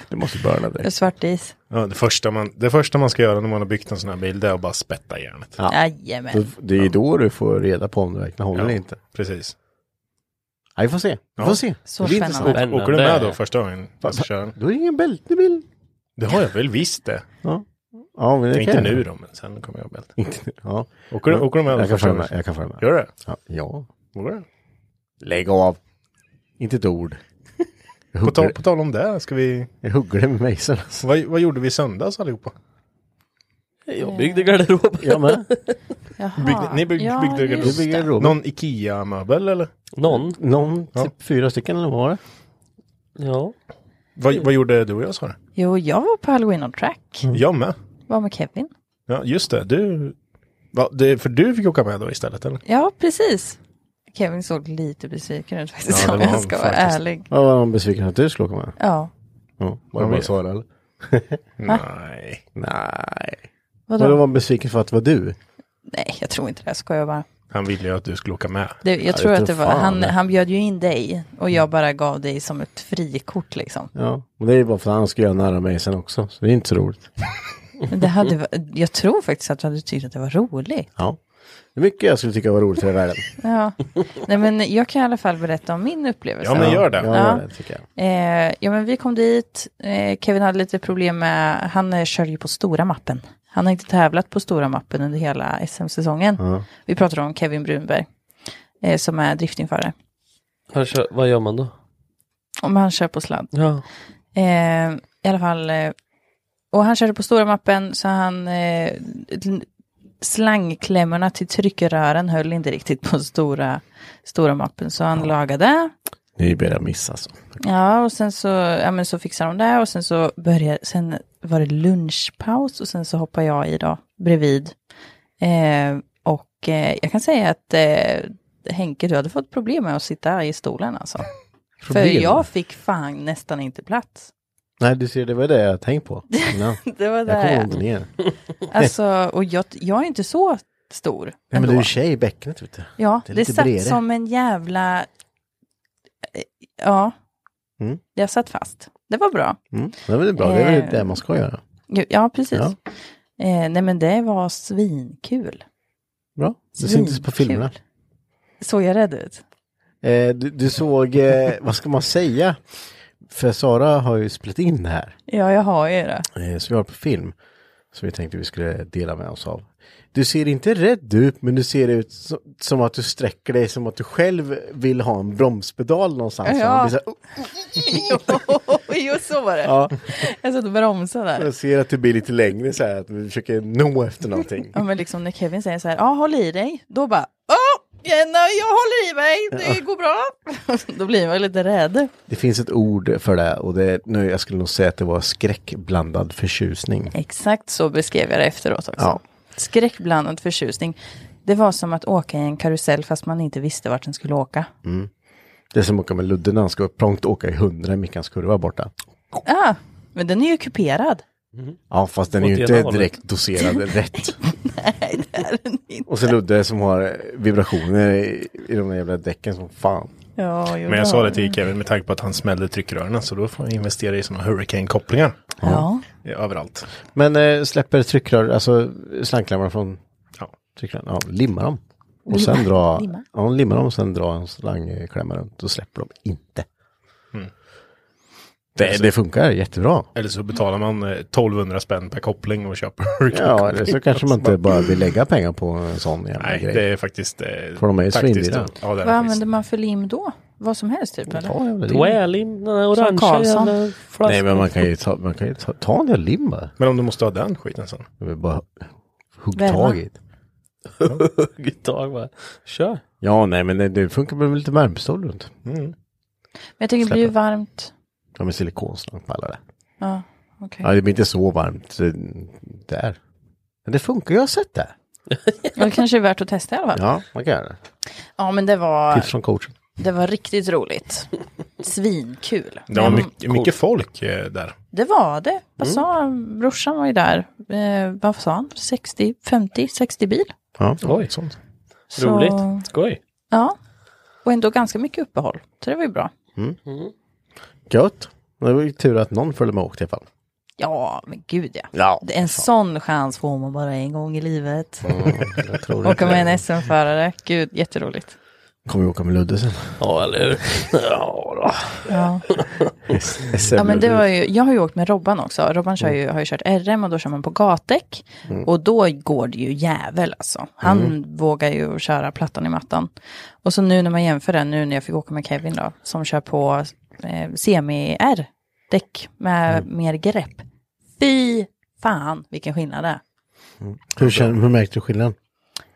S3: Det måste börna
S4: det är
S3: direkt.
S4: svart is.
S7: Ja, det, första man, det första man ska göra när man har byggt en sån här bil det är att bara spätta järnet.
S3: Ja.
S4: Jajamän.
S3: Då- Det är ju då du får reda på om det verkligen håller
S7: Ja,
S3: eller inte.
S7: Precis.
S3: Ja, vi får se. Vi
S7: Ja.
S3: får se.
S4: Så
S3: det blir
S4: spännande.
S3: intressant.
S6: Spännande.
S7: Åker du med då första gången? Jag ska köra den?
S3: Då är det ingen bältebil.
S7: Det har jag väl visst det.
S3: Ja, men det
S7: Inte
S3: kan jag.
S7: nu då, men sen kommer jag bält.
S3: Inte nu. Ja.
S7: Åker, du- åker du med då
S3: Jag kan
S7: första
S3: följa med.
S7: gången?
S3: Jag kan följa med.
S7: Gör det?
S3: Ja. ja.
S7: Vågar du?
S3: Lägg av. Inte ett ord. Jag
S7: På tal,
S3: hugger,
S7: på tal om det, ska vi...
S3: jag hugger det med mejseln. alltså.
S7: Vad, vad gjorde vi i söndags allihopa?
S6: Jag byggde garderob.
S3: Jag med.
S4: Jaha.
S7: Byggde- ni bygg- byggde
S4: just
S7: garderob.
S3: Du bygger
S4: det.
S3: en robot.
S7: Någon IKEA-möbel eller?
S6: Någon.
S3: Någon, typ fyra stycken eller vad var det?
S6: Ja.
S7: Vad, vad gjorde du och jag sa det?
S4: Jo, jag var på Halloween on
S3: Mm.
S4: track.
S7: Jag med.
S4: Var med Kevin.
S7: Ja, just det. Du... Va, det, för du fick åka med då istället eller?
S4: Ja, precis. Kevin såg lite besviken ut faktiskt,
S7: Ja, det
S4: om
S7: var
S4: jag
S7: han
S4: ska vara
S7: faktiskt.
S4: ärlig.
S3: Ja, var de besvikna att du skulle åka med?
S4: Ja,
S3: Ja, var det bara så eller?
S7: Nej.
S3: Nej.
S4: vadå?
S3: Var de var besvikna för att det var du?
S4: Nej, jag tror inte det. Jag skojar bara.
S7: Han ville ju att du skulle åka med.
S4: Det, jag
S3: Ja,
S4: tror
S3: jag
S4: att det
S3: tror
S4: var,
S3: fan
S4: han,
S3: det.
S4: han bjöd ju in dig och jag bara gav dig som ett frikort liksom.
S3: Mm. Ja, men det är ju bara för att han ska göra nära mig sen också. Så det är inte så roligt.
S4: Men det hade, va- jag tror faktiskt att du hade tyckt att det var roligt.
S3: Ja. Det är mycket jag skulle tycka var roligt i den här världen.
S4: Ja. Nej, men jag kan i alla fall berätta om min upplevelse.
S7: Ja, men gör det.
S3: Ja,
S4: Ja.
S3: gör det tycker jag.
S4: Eh, ja, men vi kom dit. Eh, Kevin hade lite problem med, han eh, kör ju på stora mappen. Han har inte tävlat på stora mappen under hela SM-säsongen. Vi pratar om Kevin Brunberg, eh, som är driftingförare.
S6: Han kör, vad gör man då?
S4: Om han kör på sladd.
S6: Ja.
S4: Eh, I alla fall, eh, och han körde på stora mappen så han eh, l- slangklämmorna till tryckrören höll inte riktigt på stora, stora mappen så han lagade.
S3: Nu börjar jag missa alltså.
S4: Ja, och sen så, ja, men så fixade de det och sen så började, sen var det lunchpaus och sen så hoppade jag i då, bredvid. Eh, och eh, jag kan säga att eh, Henke, du hade fått problem med att sitta i stolen alltså. För
S3: Problem.
S4: jag fick fan nästan inte plats.
S3: Nej, du ser, det var det jag tänkte på. innan.
S4: Det var
S3: Jag
S4: det.
S3: kommer inte ner.
S4: Alltså, och jag, jag är inte så stor
S3: Nej, men
S4: ändå.
S3: du är tjej i bäcknet vet du.
S4: ja,
S3: det är
S4: det,
S3: lite
S4: satt
S3: bredare.
S4: som en jävla... eh, Ja,
S3: Mm.
S4: jag satt fast. Det var bra.
S3: Mm. Det är väl bra, det är väl
S4: Eh.
S3: det man ska göra.
S4: Ja, Ja, precis.
S3: Ja.
S4: Eh, nej, men det var svinkul.
S3: Bra, det syntes på
S4: Svinkul.
S3: filmerna.
S4: Såg jag rädd ut?
S3: Eh, du, du såg, eh, vad ska man säga? För Sara har ju spelat in det här,
S4: Ja, jag har ju det.
S3: eh, så vi har på film. Som vi tänkte vi skulle dela med oss av. Du ser inte rädd ut, men du ser ut som, som att du sträcker dig som att du själv vill ha en bromspedal någonstans.
S4: Ja.
S3: Så man blir så här, "Oh."
S4: jo, så var det.
S3: Ja.
S4: Jag satt och bromsade där.
S3: Jag ser att du blir lite längre så här, att vi försöker nå efter någonting.
S4: Ja, men liksom när Kevin säger så här, ja håll i dig, då bara, åh, Jenna, jag håller i mig, det går bra. då blir man lite rädd.
S3: Det finns ett ord för det och det, nu, jag skulle nog säga att det var skräckblandad förtjusning.
S4: Exakt så beskrev jag det efteråt också.
S3: Ja.
S4: Skräckblandad förtjusning. Det var som att åka i en karusell fast man inte visste vart den skulle åka.
S3: Det är som att åka med Ludde när han ska prompt åka i hundra i Mickans kurva borta.
S4: Ah, men den är ju kuperad.
S3: Ja, fast den är ju
S6: Åt
S3: inte
S6: ena hållet.
S3: direkt doserad rätt.
S4: Nej, det är den inte.
S3: Och så Ludde som har eh, vibrationer i, i de där jävla däcken som fan.
S4: Ja, jo,
S7: Men jag
S4: då.
S7: sa det till Kevin med tanke på att han smällde tryckrören så då får jag investera i sådana hurricane-kopplingar
S4: Ja.
S7: i- överallt.
S3: Men eh, släpper tryckrör, alltså slangklämmar från
S7: Ja.
S3: tryckrören, ja, limma dem. Och sen dra,
S4: Limma.
S3: ja,
S7: Mm.
S3: limma dem och sen dra en slangklämma runt. Då släpper de inte. Det, det funkar jättebra.
S7: Eller så betalar man eh, 1200 spänn per koppling och köper
S3: Ja, eller så kanske man inte bara vill lägga pengar på en sån jävla
S7: Nej,
S3: grej.
S7: det är faktiskt eh,
S3: För de är ju
S7: taktiskt,
S3: svindyra.
S7: ja. Ja, det är
S4: Vad
S7: det
S4: använder
S7: faktiskt.
S4: man för lim då? Vad som helst typ eller?
S3: Ta jävla lim.
S6: Dwellim, den där orangea
S4: Karlsson.
S6: jävla flaskan.
S3: Nej, men man kan ju ta, man kan ju ta, ta en jävla lim bara.
S7: Men om du måste ha den skiten sen.
S3: Jag vill bara hugg
S4: Värma.
S3: tag i det.
S6: Vilket tag bara. Kör.
S3: Ja, nej, men det, det funkar med lite värmestål runt.
S4: Men jag tycker det blir ju varmt.
S3: Ja, med silikonslang på alla det.
S4: Ja, okej.
S3: Ja, det blir inte så varmt eh, där. Men det funkar, jag har sett det.
S4: Men Det kanske är värt att testa i alla fall. Ja,
S3: Ja, man kan göra det.
S4: men det var,
S3: Tips från coachen.
S4: det var riktigt roligt. Svinkul.
S7: Det var
S4: Men-
S7: mycket, mycket folk eh, där.
S4: Det var det. Vad sa han? Brorsan var ju där. Eh, vad sa han? 60, 50, 60 bil.
S3: Ja.
S7: Oj. Sånt.
S4: Så-
S6: Roligt. Skoj.
S4: Ja. Och ändå ganska mycket uppehåll. Så det var ju bra.
S3: Gött. Det var ju tur att någon följde med och åkte i alla fall.
S4: Ja, men gud ja.
S3: Ja,
S4: Det- En sån chans får man bara en gång i livet.
S3: jag tror
S4: Åka
S3: inte.
S4: med en SM-förare. Gud, jätteroligt.
S3: Kommer vi åka med Ludde sen?
S6: Ja, eller hur? Ja, då.
S4: Ja. Ja, men det var ju, jag har ju åkt med Robban också. Robban kör
S3: Mm.
S4: ju, har ju kört RM och då kör man på gatdäck. Och då går det ju jävel alltså. Han
S3: Mm.
S4: vågar ju köra plattan i mattan. Och så nu när man jämför den, nu när jag fick åka med Kevin då, som kör på eh, semi-R, däck med
S3: Mm.
S4: mer grepp. Fy fan vilken skillnad det är.
S3: hur, känner, hur märkte du skillnaden?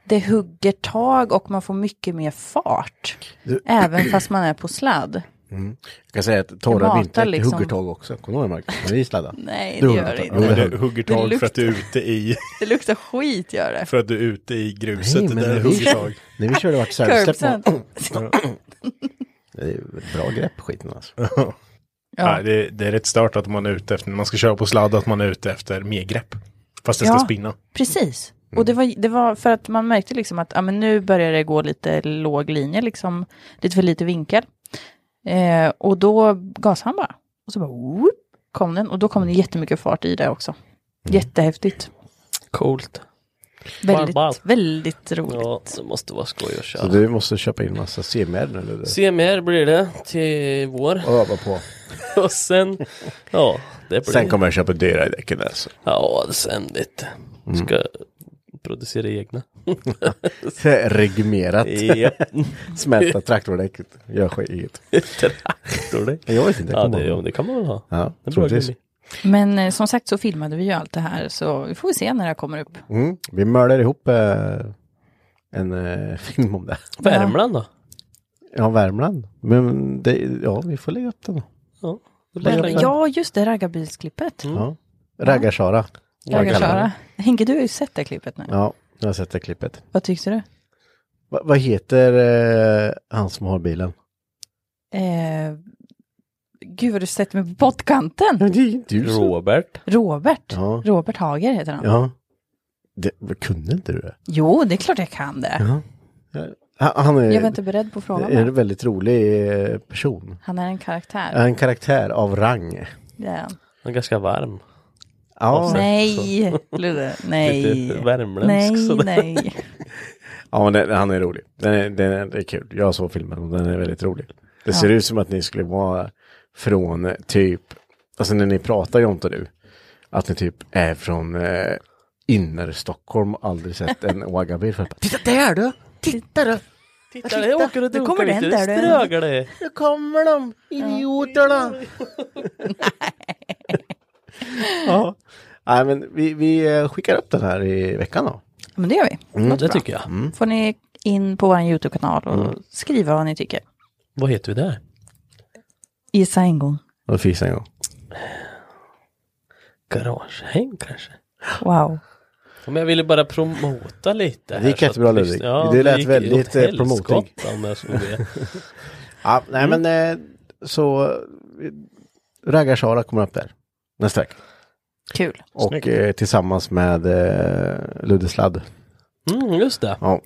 S4: Det hugger tag och man får mycket mer fart.
S3: Du-
S4: Även fast man är på sladd.
S3: Jag kan säga att
S4: Det
S3: torra
S4: matar
S3: vinterdäck, det
S4: liksom.
S3: hugger tag också. Kommer du ihåg Marcus? När vi sladdade?
S4: Nej,
S3: Du
S4: det
S3: hugger
S4: gör det
S3: tag.
S4: inte.
S3: Jo,
S7: Men
S3: det
S7: du
S3: hugger-
S7: hugger
S4: Det
S7: tag för att du är
S4: luktar.
S7: ute i,
S4: Det luktar skit gör det.
S7: för att du är ute i gruset.
S3: Nej, men
S7: det där
S3: det-
S7: hugger tag.
S3: När vi körde vart så här, släpp
S4: Curbsen.
S3: man- Det är ju ett bra grepp skiten alltså.
S7: Nej, det, det är rätt stört att man är ute efter, när man ska köra på sladd, att man är ute efter mer grepp. Fast det ska
S4: Ja.
S7: spinna.
S4: Precis.
S6: Mm.
S4: Och det var, det var för att man märkte liksom att ja, men nu börjar det gå lite låg linje, liksom, lite för lite vinkel. Eh, och då gasade han bara. Och så bara whoop, kom den. Och då kom det jättemycket fart i det också.
S6: Mm.
S4: Jättehäftigt.
S6: Coolt.
S4: Väldigt,
S6: ballt.
S4: väldigt roligt.
S6: Ja, det måste vara skoj att
S3: Så
S6: köra.
S3: du måste köpa in massa CMR nu Ludde.
S6: CMR blir det till vår.
S3: Och öva på.
S6: Och sen, ja, det blir
S3: Sen kommer jag köpa dyra däcken alltså.
S6: Ja, sen lite.
S3: Mm.
S6: Ska producera egna.
S3: Regimerat.
S6: Ja,
S3: Smälta traktordäcket. Gör skit eget.
S6: traktor
S3: Jag vet inte. jag
S6: Ja,
S3: kommer
S6: det, ja,
S3: ihåg.
S6: det kan man väl ha.
S3: Ja,
S6: Det är bra
S3: troligtvis.
S6: gummi.
S4: Men eh, som sagt så filmade vi ju allt det här så vi får se när det här kommer upp.
S3: Mm. Vi mördar ihop eh, en eh, film om det.
S6: Värmland då?
S3: Ja, Värmland. Men det, ja, vi får lägga upp den. då.
S6: Ja, det Mm.
S4: Men,
S6: blir Värmland.
S4: ja, just det, raggarbilsklippet.
S3: Mm. Ja. Raggarsara.
S4: Raggarklara. Henke, du har ju sett det klippet nu.
S3: Ja, jag har sett det klippet.
S4: Vad tyckte du?
S3: Va, vad heter eh, han som har bilen?
S4: Eh, gud vad du sätter mig på pottkanten.
S3: det är ju du
S6: Robert.
S4: Robert.
S3: Ja.
S4: Robert Hager heter han.
S3: Ja. Det, vad, kunde inte du det?
S4: Jo, det är klart jag kan det.
S3: Ja. Ja, Han, han är,
S4: Jag var inte beredd på frågan.
S3: är en väldigt rolig eh, person.
S4: Han är en karaktär.
S3: En karaktär av rang.
S4: Det är han.
S6: Han är ganska varm.
S3: Ja,
S4: Nej, Ludde. Nej.
S6: Lite värmländsk
S4: Nej,
S6: sådär.
S4: nej.
S3: ja men den, han är rolig. Den är, den är, det är kul. Jag såg filmen och den är väldigt rolig. Det ser ut som att ni skulle vara från eh, typ, alltså när ni pratar Jonte du, att ni typ är från eh, inner-Stockholm och aldrig sett en Waggabil. För att bara, Titta där du! Titta du!
S6: Titta, det åker och
S4: nu
S6: dunkar
S4: kommer den
S6: lite. Det
S4: där, du.
S6: strögar det.
S3: Nu kommer de, idioterna! ja. Nej men vi, vi eh, skickar upp den här i veckan då.
S4: Men det gör vi.
S3: Mm.
S4: Låter
S6: Det
S4: bra.
S6: tycker jag.
S4: Får ni in på vår YouTube-kanal och
S6: Mm.
S4: skriva vad ni tycker.
S6: Vad heter vi där?
S4: Gissa en gång.
S3: Och fisa en gång.
S6: Garagehäng kanske?
S4: Wow.
S6: Ja, Men jag ville bara promota lite. här,
S3: Det gick
S6: så att
S3: jättebra,
S6: lyssna-
S3: Ludvig. Det lät
S6: gick
S3: väldigt,
S6: åt
S3: eh,
S6: helskotta
S3: promoting.
S6: om jag såg det.
S3: Ja, nej men eh, så eh, Raggarsara kommer upp där nästa vecka.
S4: Kul.
S3: Och eh, tillsammans med eh, Ludde Sladd.
S6: Mm, just det.
S3: Ja,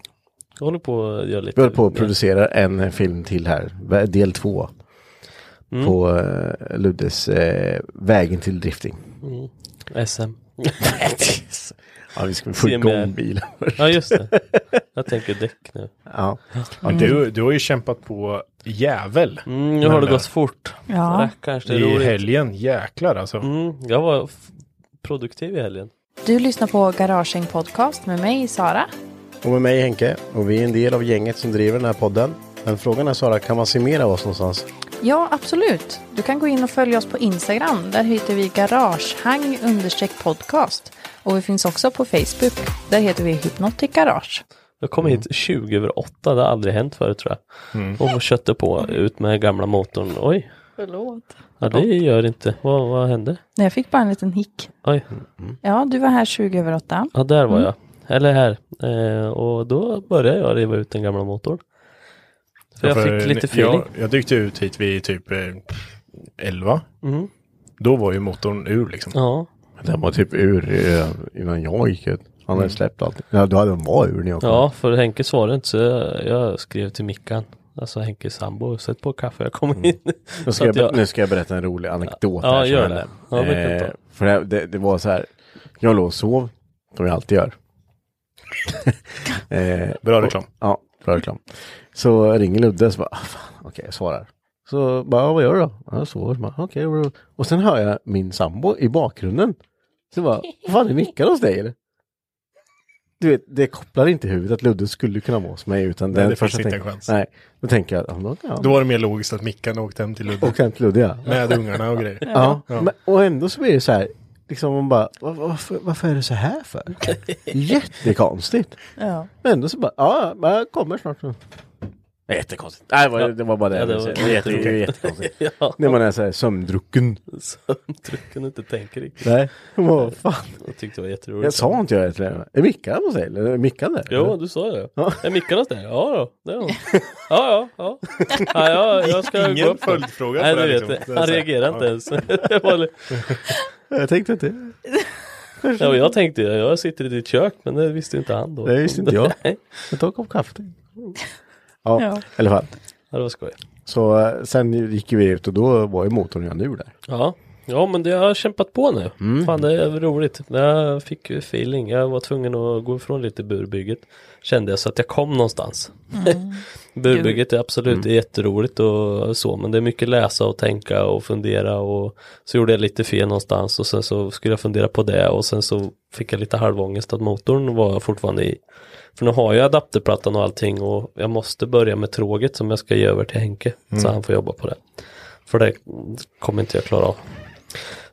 S6: Jag håller på att göra lite.
S3: vi håller på att producera en film till här, vä- del två.
S6: Mm.
S3: På eh, Luddes eh, Vägen till drifting.
S6: SM.
S3: Ja, vi ska få igång
S6: CMR.
S3: bilen.
S6: Ja, just det. Jag tänker däck nu.
S3: Ja.
S7: Ja, du, du har ju kämpat på jävel.
S6: Mm, nu har det
S7: Men,
S6: gått fort.
S4: Ja.
S6: Rackars, det är
S7: I
S6: roligt.
S7: helgen, jäklar alltså.
S6: Mm, jag var f- produktiv i helgen.
S4: Du lyssnar på Garaging Podcast med mig, Sara.
S9: Och med mig Henke. Och vi är en del av gänget som driver den här podden. Men frågan är Sara, kan man se mer av oss någonstans?
S4: Ja, absolut. Du kan gå in och följa oss på Instagram. Där heter vi garagehang understreck podcast. Och vi finns också på Facebook. Där heter vi Hypnotic Garage.
S6: Jag kom
S3: Mm.
S6: hit 20 över 8, det har aldrig hänt förut tror jag. Och kötte på ut med gamla motorn. Oj,
S4: Förlåt.
S6: ja, det gör inte. Vad, vad hände?
S4: Nej, jag fick bara en liten hick.
S6: Oj,
S4: Ja, du var här 20 över 8.
S6: ja där
S3: Mm.
S6: var jag. Eller här. Eh, och då började jag riva ut den gamla motorn. För jag
S7: För
S6: fick lite feeling.
S7: jag, jag dykte ut hit vid typ eh, 11. Då var ju motorn ur liksom.
S6: Mm. Ja,
S3: Den var typ ur eh, innan jag gick ut. Han
S7: Mm.
S3: hade släppt allt. Ja, då hade den var ur när jag kom.
S6: ja, för Henke svarade inte så jag, jag skrev till Mickan. Alltså Henkes sambo, sätt på kaffe, jag kommer in.
S3: Nu
S6: Så
S3: ska, jag,
S6: att jag-
S3: nu ska jag berätta en rolig Mm, anekdot.
S6: Ja,
S3: här som Eh,
S6: gör
S3: hände.
S6: det. Ja, det kan jag ta.
S3: för det, det, det var så här. Jag låg och sov, som jag alltid gör. eh,
S7: Bra reklam.
S3: ja, bra reklam. Så ringer Ludde och så bara, ah, fan, okej, jag svarar. Så bara, "Ja, vad gör du då? "Ja, Jag sover. Så bara, Okej, okay. Och sen hör jag min sambo i bakgrunden. Så bara, vad fan, det nickar hos dig eller? Du vet, det kopplar inte i huvudet att Ludde skulle kunna vara hos mig utan
S7: Nej,
S3: den
S7: det finns
S3: första
S7: inte en
S3: tänk-
S7: chans.
S3: Nej, då tänker jag, ja, men, ja.
S7: Då var det mer logiskt att Mickan åkte hem till Ludde.
S3: Och sen till Ludde ja.
S7: Med ungarna och grejer.
S3: Ja, Men, och ändå så blir det så här. Liksom man bara, "Va- varför, varför är det så här för? Jättekonstigt.
S4: Ja.
S3: Men ändå så bara, ja, men jag kommer snart. nu." Jättekonstigt. Nej, det var, det var bara det.
S6: Ja, det
S3: det
S6: var
S3: var jätte,
S6: jätteroligt.
S3: jättekonstigt.
S6: ja,
S3: När man är så här sömndrucken.
S6: sömndrucken och inte tänker riktigt.
S3: Nej. Vad fan.
S6: Jag tyckte det var jätteroligt.
S3: Jag sa inte jag till henne. Är Mickan hos dig? Eller är Mickan där?
S6: Jo, du sa det. Är Mickan hos dig? Ja då, det är hon. Ja, ja, ja. ja jag, jag ska
S7: Ingen
S6: gå upp då.
S7: följdfråga
S6: Nej,
S7: på det
S6: du
S7: här,
S6: vet,
S7: liksom. Det är
S6: han
S7: så här,
S6: reagerar inte ens. Det var li-
S3: Jag tänkte inte.
S6: ja, och jag tänkte, ju, jag sitter i ditt kök, men det visste ju inte han då.
S3: Det visste inte jag.
S6: Nej,
S3: Jag tar en kopp kaffe till. Ja,
S4: Ja.
S3: i alla fall.
S6: ja, det var skoj.
S3: Så eh, sen gick vi ut och då var ju motorn jag nu där.
S6: Ja. ja, men det har jag kämpat på nu. Fan, det är roligt. Jag fick ju feeling. Jag var tvungen att gå ifrån lite burbygget. Kände jag så att jag kom någonstans. burbygget är absolut det är jätteroligt och så, men det är mycket läsa och tänka och fundera och så gjorde jag lite fel någonstans och sen så skulle jag fundera på det och sen så fick jag lite halvångest att motorn var fortfarande i. För nu har jag adapterplattan och allting och jag måste börja med tråget som jag ska ge över till Henke så han får jobba på det. För det kommer inte jag klara av.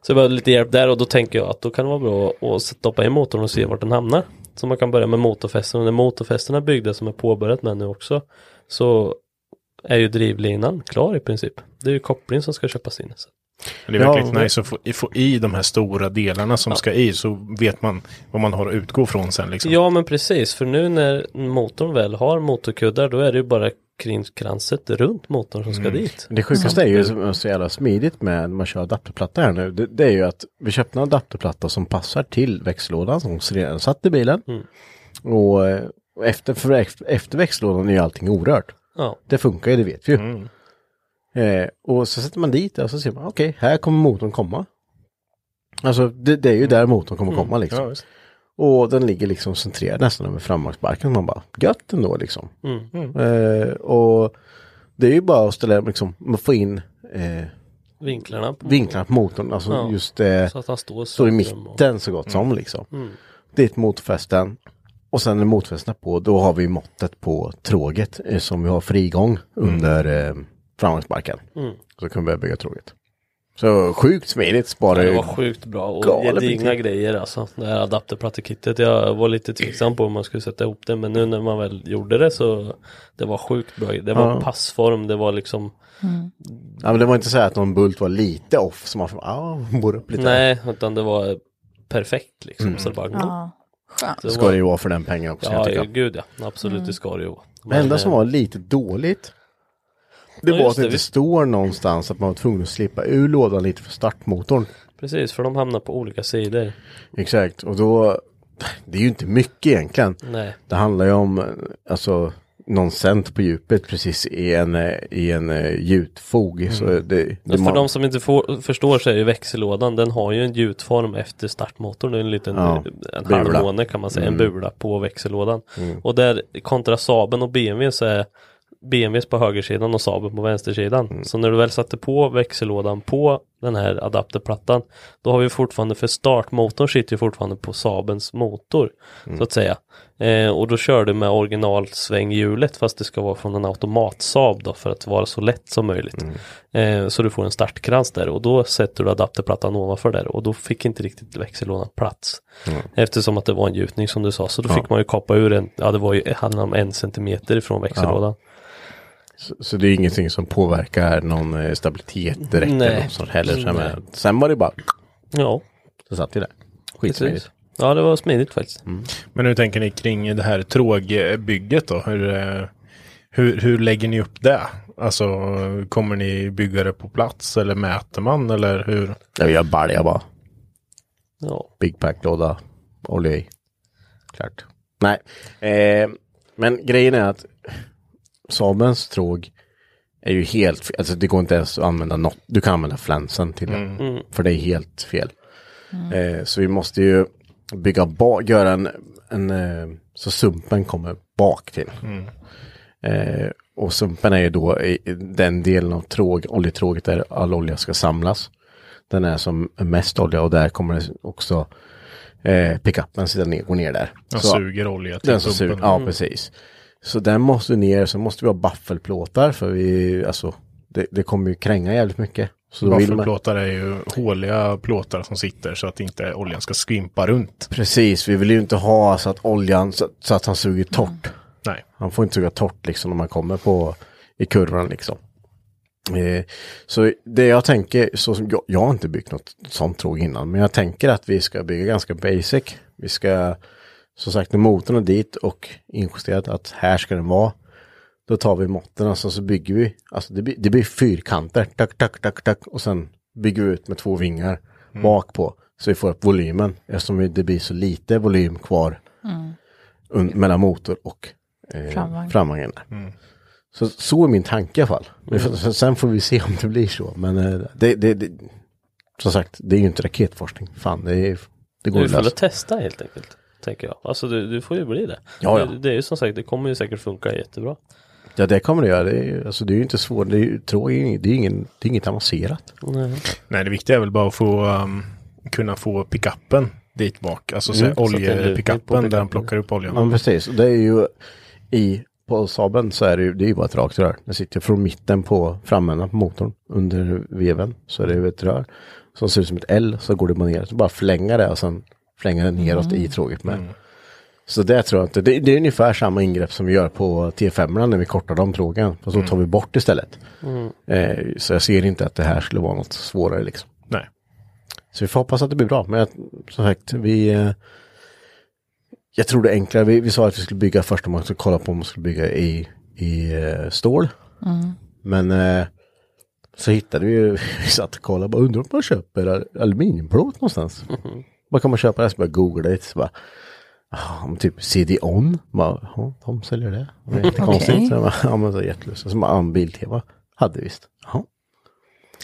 S6: Så jag behövde lite hjälp där och då tänker jag att då kan det vara bra att stoppa i motorn och se vart den hamnar. Så man kan börja med motorfästen och när motorfästena byggdes som är påbörjat med nu också så är ju drivlinan klar i princip. Det är ju kopplingen som ska köpas in. Så.
S7: Men Det är verkligen
S3: Ja,
S7: nice att få, få i de här stora delarna som ska i så vet man vad man har att utgå från sen liksom.
S6: Ja men precis, för nu när motorn väl har motorkuddar då är det ju bara kring kranset runt motorn som
S3: Mm.
S6: ska dit.
S3: Det sjukaste är ju som är så jävla smidigt med när man kör adapterplatta här nu. Det, det är ju att vi köpte en adapterplatta som passar till växellådan som redan satt i bilen. Och eh, efter, för, efter- efter växellådan är ju allting orört.
S6: Ja,
S3: Det funkar ju, det vet vi ju.
S6: Mm.
S3: Eh, och så sätter man dit det och så ser man, okej, här kommer motorn komma. Alltså det, det är ju där motorn kommer
S6: Mm.
S3: komma liksom.
S7: Ja, visst.
S3: Och den ligger liksom centrerad nästan över framvagnsbarken. Man bara, gött ändå liksom.
S6: Mm.
S3: Eh, och det är ju bara att ställa liksom, man får in eh,
S6: vinklarna. På
S3: vinklarna på motorn. Alltså
S6: Ja.
S3: just eh,
S6: Så att han står,
S3: står i
S6: centrum och-
S3: mitten så gott som liksom. Dit motorfästen. Och sen när motorfästen är på, då har vi måttet på tråget eh, som vi har frigång under eh, framvagnsbarken. Så kan vi börja bygga tråget. Så sjukt smidigt sparar
S6: Det
S3: ju.
S6: var sjukt bra och
S3: galet
S6: gedigna
S3: mycket.
S6: grejer alltså. Det här adapterplattekittet. Jag var lite tveksam på om man skulle sätta ihop det men nu när man väl gjorde det så det var sjukt bra. Det var
S3: Ja. Mm.
S6: passform, det var liksom
S3: Ja, men det var inte så här att någon bult var lite off som man får, ah, bor upp lite.
S6: nej utan det var perfekt liksom. Så det bara,
S4: Ja. Skönt. Mm.
S6: så
S3: Det
S6: det
S3: ska
S6: var-
S3: det ju vara för den pengen också.
S6: Ja,
S3: jag tycker.
S6: gud ja. Absolut, det ska det ju vara.
S3: Det enda
S6: Men,
S3: som
S6: eh,
S3: var lite dåligt det
S6: Ja,
S3: var
S6: just
S3: att det
S6: det,
S3: inte
S6: vi-
S3: står någonstans att man var tvungen att slippa ur lådan lite för startmotorn.
S6: Precis, för de hamnar på olika sidor.
S3: Exakt, och då, det är ju inte mycket egentligen.
S6: Nej.
S3: Det handlar ju om, eh, alltså, någon cent på djupet precis i en, eh, i en eh, gjutfog. Så det, det
S6: Alltså, För
S3: man-
S6: de som inte får, förstår så är ju växellådan, den har ju en gjutform efter startmotorn. Det är en liten
S3: Ja,
S6: en
S3: bula. Mm.
S6: halvmåne kan man säga, en bula på växellådan. Och där kontra Saben och BMW så är BMWs på högersidan och Saaben på vänstersidan. Så när du väl satte på växellådan på den här adapterplattan, då har vi fortfarande, för startmotorn sitter ju fortfarande på Saabens motor, så att säga. Eh, och då kör du med originalsvänghjulet, fast det ska vara från en automat Saab då, för att vara så lätt som möjligt. Eh, så du får en startkrans där och då sätter du adapterplattan ovanför där och då fick inte riktigt växellådan plats. Eftersom att det var en gjutning som du sa, så då fick man ju kapa ur en, ja det var ju, handlade om en centimeter ifrån växellådan. Mm.
S3: Så, så det är ingenting som påverkar någon eh, stabilitet direkt eller
S6: Nej.
S3: något sånt heller. Sen, men, sen var det bara,
S6: Ja,
S3: så satt vi där.
S6: precis.
S3: Skitsmidigt. Mm.
S6: Ja, det var smidigt faktiskt.
S7: Men hur tänker ni kring det här trågbygget då? Hur, eh, hur, hur lägger ni upp det? Alltså kommer ni bygga det på plats eller mäter man eller hur?
S3: Ja, Jag baljade bara.
S6: Ja.
S3: Big Pack-låda, olja i. Klart. Nej, eh, men grejen är att Saabens tråg är ju helt fel. Alltså det går inte ens att använda något. Du kan använda flänsen till
S7: Mm.
S3: det. För det är helt fel. Eh, så vi måste ju bygga bak, göra en, en eh, så sumpen kommer bak till. Eh, och sumpen är ju då i i den delen av tråg, oljetråget där all olja ska samlas. Den är som mest olja och där kommer det också eh, pickupen sitta ner, gå ner där.
S7: Den
S3: Så-
S7: suger olja till
S3: den som suger, ja precis. Så den måste ner, så måste vi ha baffelplåtar för vi, alltså, det, det kommer ju kränga jävligt mycket. Så då vill man,
S7: Vaffelplåtar är ju håliga plåtar som sitter så att inte oljan ska skvimpa runt.
S3: precis, vi vill ju inte ha så att oljan, så, så att han suger torrt.
S7: Nej.
S3: Han får inte suga torrt liksom när man kommer på, i kurvan liksom. Eh, så det jag tänker, så som, jag, jag har inte byggt något sånt tråg innan, men jag tänker att vi ska bygga ganska basic. Vi ska, som sagt, när motorn är dit och injusterat att här ska den vara. Då tar vi måtten och alltså, så bygger vi, alltså det, blir- det blir fyrkanter, tack, tack, tack, tack och sen bygger vi ut med två vingar bak på så vi får upp volymen eftersom vi- det blir så lite volym kvar un- mellan motor och eh,
S4: Framvagn.
S3: framvagnen. Så, så är min tanke i alla fall. Vi får- sen- Sen får vi se om det blir så. Men eh, det, det, det, som sagt, det är ju inte raketforskning. Fan, det, är, det går
S6: Du
S3: att
S6: får väl
S3: lösa.
S6: testa helt enkelt. Tänker jag. Alltså du, du får ju bli det.
S3: Ja, ja.
S6: Det, det är ju som sagt, det kommer ju säkert funka jättebra.
S3: Ja, det kommer det göra. Det är, ju- alltså, det är ju inte svårt. Det är ju tråg, det är ju ingen, det är inget avancerat.
S7: Nej, det viktiga är väl bara att få um, kunna få pickuppen dit bak. Alltså så
S3: Mm,
S7: här,
S3: så att
S6: det är en lutning på
S7: oljepickuppen där den
S6: pickuppen.
S7: plockar upp oljan.
S3: Ja, men precis. Och Det är ju i, på Saaben så är det ju, det är ju bara ett rakt rör. Det sitter från mitten på framändan på motorn under veven så är det ju ett rör som ser ut som ett L så går det bara ner. Så bara flänga det och sen flänga det neråt
S6: Mm.
S3: i tråget
S7: Mm.
S3: med. Så det tror jag inte, det, det är ungefär samma ingrepp som vi gör på T5 när vi kortar de trågen. Och så tar vi bort istället. Eh, så jag ser inte att det här skulle vara något svårare liksom.
S7: Nej.
S3: Så vi får hoppas att det blir bra. Men jag, som sagt, vi... eh, Jag tror det är enklare. Vi, vi sa att vi skulle bygga först om man skulle kolla på om man skulle bygga i, i eh, stål. Men eh, så hittade vi ju, vi satt och kollade, bara undrar om man köper al- aluminiumplåt någonstans. Var kan man köpa det? Så bara googlade lite, så bara, ah, om typ CD-ON, bara, ja, de säljer det. Det är inte konstigt. Så jag bara, ja, men så jättelust. Och så bara, ja, en bil-tv hade visst. Jaha.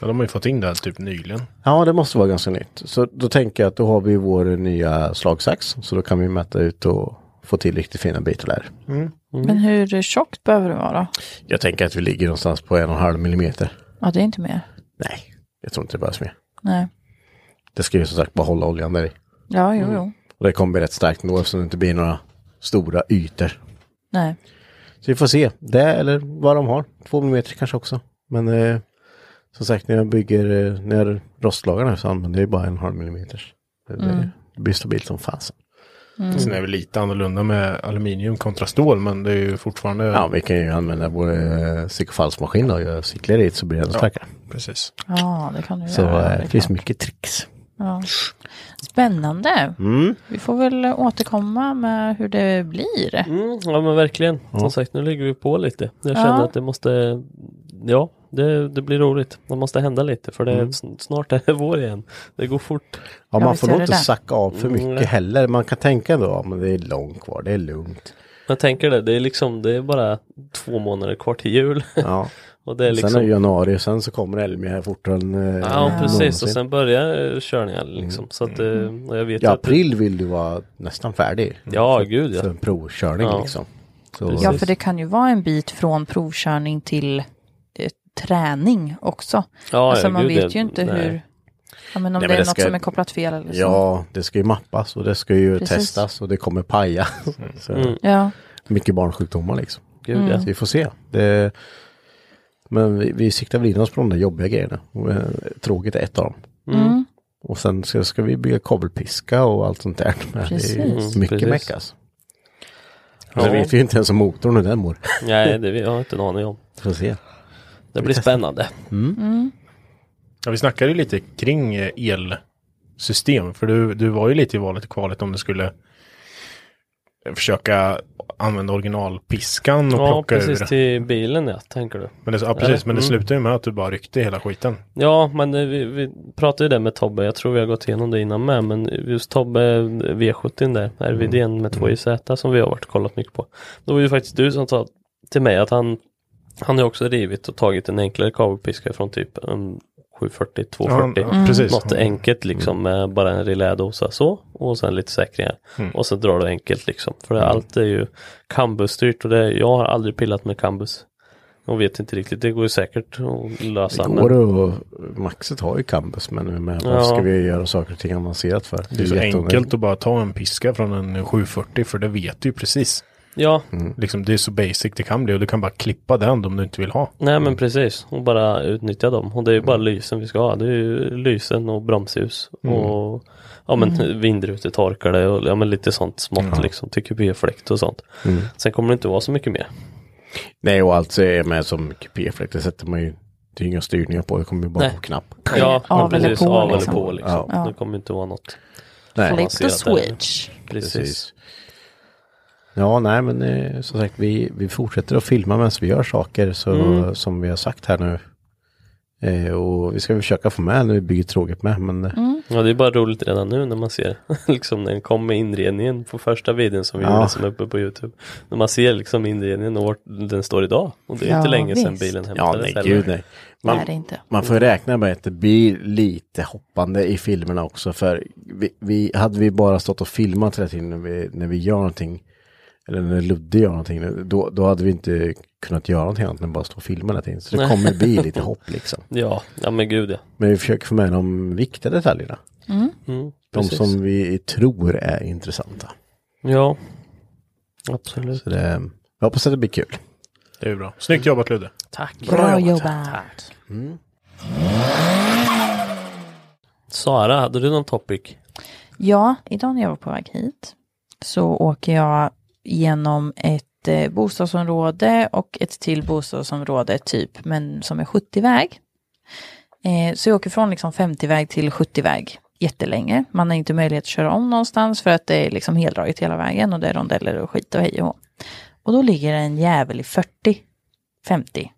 S7: Ja, de har ju fått in det här typ nyligen.
S3: Ja, det måste vara ganska nytt. Så då tänker jag att då har vi vår nya slagsax. Så då kan vi mäta ut och få till riktigt fina bitar där.
S4: Men hur tjockt behöver det vara?
S3: Jag tänker att vi ligger någonstans på en och en halv millimeter.
S4: Ja, det är inte mer.
S3: Nej, jag tror inte det behövs mer.
S4: Nej.
S3: Det ska ju som sagt bara hålla oljan där i.
S4: Ja, jo, jo.
S3: Och det kommer bli rätt starkt ändå eftersom det inte blir några stora ytor.
S4: Nej.
S3: Så vi får se. Det eller vad de har. Två millimeter kanske också. Men eh, som sagt, när jag bygger, eh, när jag rostlagar nu så använder jag ju bara en och en halv millimeter. Det, det, det blir stabilt som fasen.
S7: Sen är det väl lite annorlunda med aluminium kontra stål, men det är ju fortfarande...
S3: Ja, vi kan ju använda vår eh, sickfallsmaskin och göra cyklar i så blir det ännu starkare.
S7: Precis.
S4: Ja, det kan du
S3: Så
S4: göra.
S3: eh,
S4: är
S3: det finns
S4: klart.
S3: mycket tricks.
S4: Ja. Spännande. Vi får väl återkomma med hur det blir.
S6: Mm, ja men verkligen. Som sagt, nu ligger vi på lite. Jag känner
S4: Ja.
S6: att det måste, ja, det, det blir roligt. Det måste hända lite för det
S3: Mm.
S6: är sn- snart är det vår igen. Det går fort.
S3: Ja,
S4: Ja,
S3: man
S4: visst
S3: får
S4: är
S3: nog
S4: det
S3: inte
S4: det.
S3: sacka av för mycket
S6: Mm.
S3: heller. Man kan tänka då, ja, men det är långt kvar, det är lugnt.
S6: Jag tänker det, det är liksom, det är bara två månader kvar till jul.
S3: Ja.
S6: och det är liksom,
S3: Sen är det januari, sen så kommer Elmia här fortare än eh,
S6: ja precis. Och
S3: någonsin. Mm.
S6: sen börjar eh, körningen liksom. Så att, eh, och jag vet
S3: I
S6: ju att-
S3: april vill du vara nästan färdig
S6: Ja, gud ja.
S3: för en provkörning
S6: Ja.
S3: liksom.
S9: Så,
S4: Ja, för det kan ju vara en bit från provkörning till eh, träning också.
S6: Ja,
S4: alltså
S6: ja,
S4: man
S6: gud,
S4: vet
S6: det-
S4: ju inte
S6: nej.
S4: hur, ja, men
S3: Nej,
S4: om
S3: men
S4: det är
S3: det
S4: något
S3: ska-
S4: som är kopplat fel eller så.
S3: Ja, det ska ju mappas och det ska ju
S4: Precis.
S3: testas och det kommer paja. Så,
S6: Mm.
S4: Ja,
S3: Mycket barnsjukdomar liksom.
S6: Gud ja.
S3: Så vi får se. Det, men vi, vi siktar väl in oss på de där jobbiga grejerna. Och, eh, Tråkigt är ett av dem.
S4: Mm.
S3: Och sen ska, ska vi bygga kabelpiska och allt sånt där. Men Det är
S4: Precis.
S3: ju mycket
S6: Precis.
S3: meck alltså. Men Vi vet ju inte ens om motorn hur den mår.
S6: Nej, det har jag inte en aning om.
S3: Vi Får se.
S6: Det blir spännande.
S7: Ja, vi snackade ju lite kring eh, elsystem, för du, du var ju lite i valet och kvalet om du skulle eh, försöka använda originalpiskan och
S6: Ja,
S7: plocka
S6: precis Mm.
S7: ur.
S6: till bilen ja, tänker du.
S7: Men det, ja, precis, men det slutade ju med att du bara ryckte i hela skiten.
S6: Ja, men eh, vi, vi pratade ju det med Tobbe. Jag tror vi har gått igenom det innan med. Men just Tobbe eh, V70 där,
S7: Mm.
S6: RVDn med 2JZ som vi har varit och kollat mycket på. Då var ju faktiskt du som sa till mig att han han har också rivit och tagit en enklare kabelpiska från typ en 740, 240.
S7: Ja, Mm. precis.
S6: Något enkelt liksom med bara en relädosa så och sen lite säkringar.
S7: Mm.
S6: Och sen drar du enkelt liksom. För det, allt är ju cambusstyrt och det, jag har aldrig pillat med cambus. Och vet inte riktigt, det går ju säkert att lösa.
S3: Det
S6: men-
S3: går och Maxet har ju campus men med,
S6: Ja.
S3: vad ska vi göra saker och ting avancerat för?
S7: Det är så
S3: jätteonödigt.
S7: enkelt att bara ta en piska från en 740 för det vet du ju precis.
S6: Ja,
S3: Mm.
S7: Liksom, det är så basic det kan bli och du kan bara klippa den om du inte vill ha.
S6: nej
S3: Mm.
S6: men precis. Och bara utnyttja dem. Och det är ju bara lysen vi ska ha. Det är ju lysen och bromsljus.
S3: Mm.
S6: Och ja men
S4: Mm.
S6: vindrutetorkare och ja, men lite sånt smått liksom. Till kupéfläkt och sånt.
S3: Mm.
S6: Sen kommer det inte vara så mycket mer.
S3: Nej och allt är med som kupéfläkt, det sätter man ju, det är inga styrningar på, det kommer ju bara
S6: Nej.
S3: på knapp.
S6: Ja,
S4: Av
S6: men
S4: eller på,
S6: Av
S4: liksom.
S6: eller på liksom.
S3: Ja.
S6: Det kommer inte vara något.
S3: Nej,
S4: flip
S6: ser
S4: the
S6: att det är-
S4: switch.
S6: Precis.
S3: precis. Ja, nej men eh, som sagt vi, vi fortsätter att filma medan vi gör saker så,
S4: Mm.
S3: som vi har sagt här nu. Eh, och vi ska försöka få med när vi bygger tråget med
S4: Mm.
S3: men eh,
S6: Ja, det är bara roligt redan nu när man ser liksom när den kom med inredningen på första videon som vi
S3: Ja.
S6: gjorde som är uppe på Youtube. När man ser liksom inredningen och vart den står idag. Och det är inte
S4: Ja,
S6: länge sedan
S4: visst.
S6: bilen
S3: ja,
S6: hämtades.
S3: nej
S6: heller.
S3: gud nej. Man,
S4: Nej, det är inte.
S3: Man får ju räkna med att det blir lite hoppande i filmerna också för vi, vi, hade vi bara stått och filmat hela tiden när vi, när vi gör någonting eller när Ludde gör någonting då, då hade vi inte kunnat göra någonting annat än bara stå och filma hela tiden. Så det
S6: Nej.
S3: kommer bli lite hopp liksom.
S6: Ja, ja men gud ja.
S3: Men vi försöker få med de viktiga detaljerna.
S6: Mm,
S3: De
S6: precis.
S3: som vi tror är intressanta.
S6: Ja, absolut.
S3: Så det, jag hoppas att det blir kul.
S7: Det är ju bra. Snyggt jobbat Ludde.
S6: Tack.
S4: Bra jobbat.
S6: Sara, hade du någon topic?
S4: Ja, idag när jag var på väg hit så åker jag genom ett eh, bostadsområde och ett till bostadsområde typ, men som är 70-väg. Eh, så jag åker från liksom 50-väg till 70-väg jättelänge. Man har inte möjlighet att köra om någonstans för att det är liksom heldraget hela vägen och det är rondeller och skit och hej och hå. Och då ligger det en jävel i 40, 50,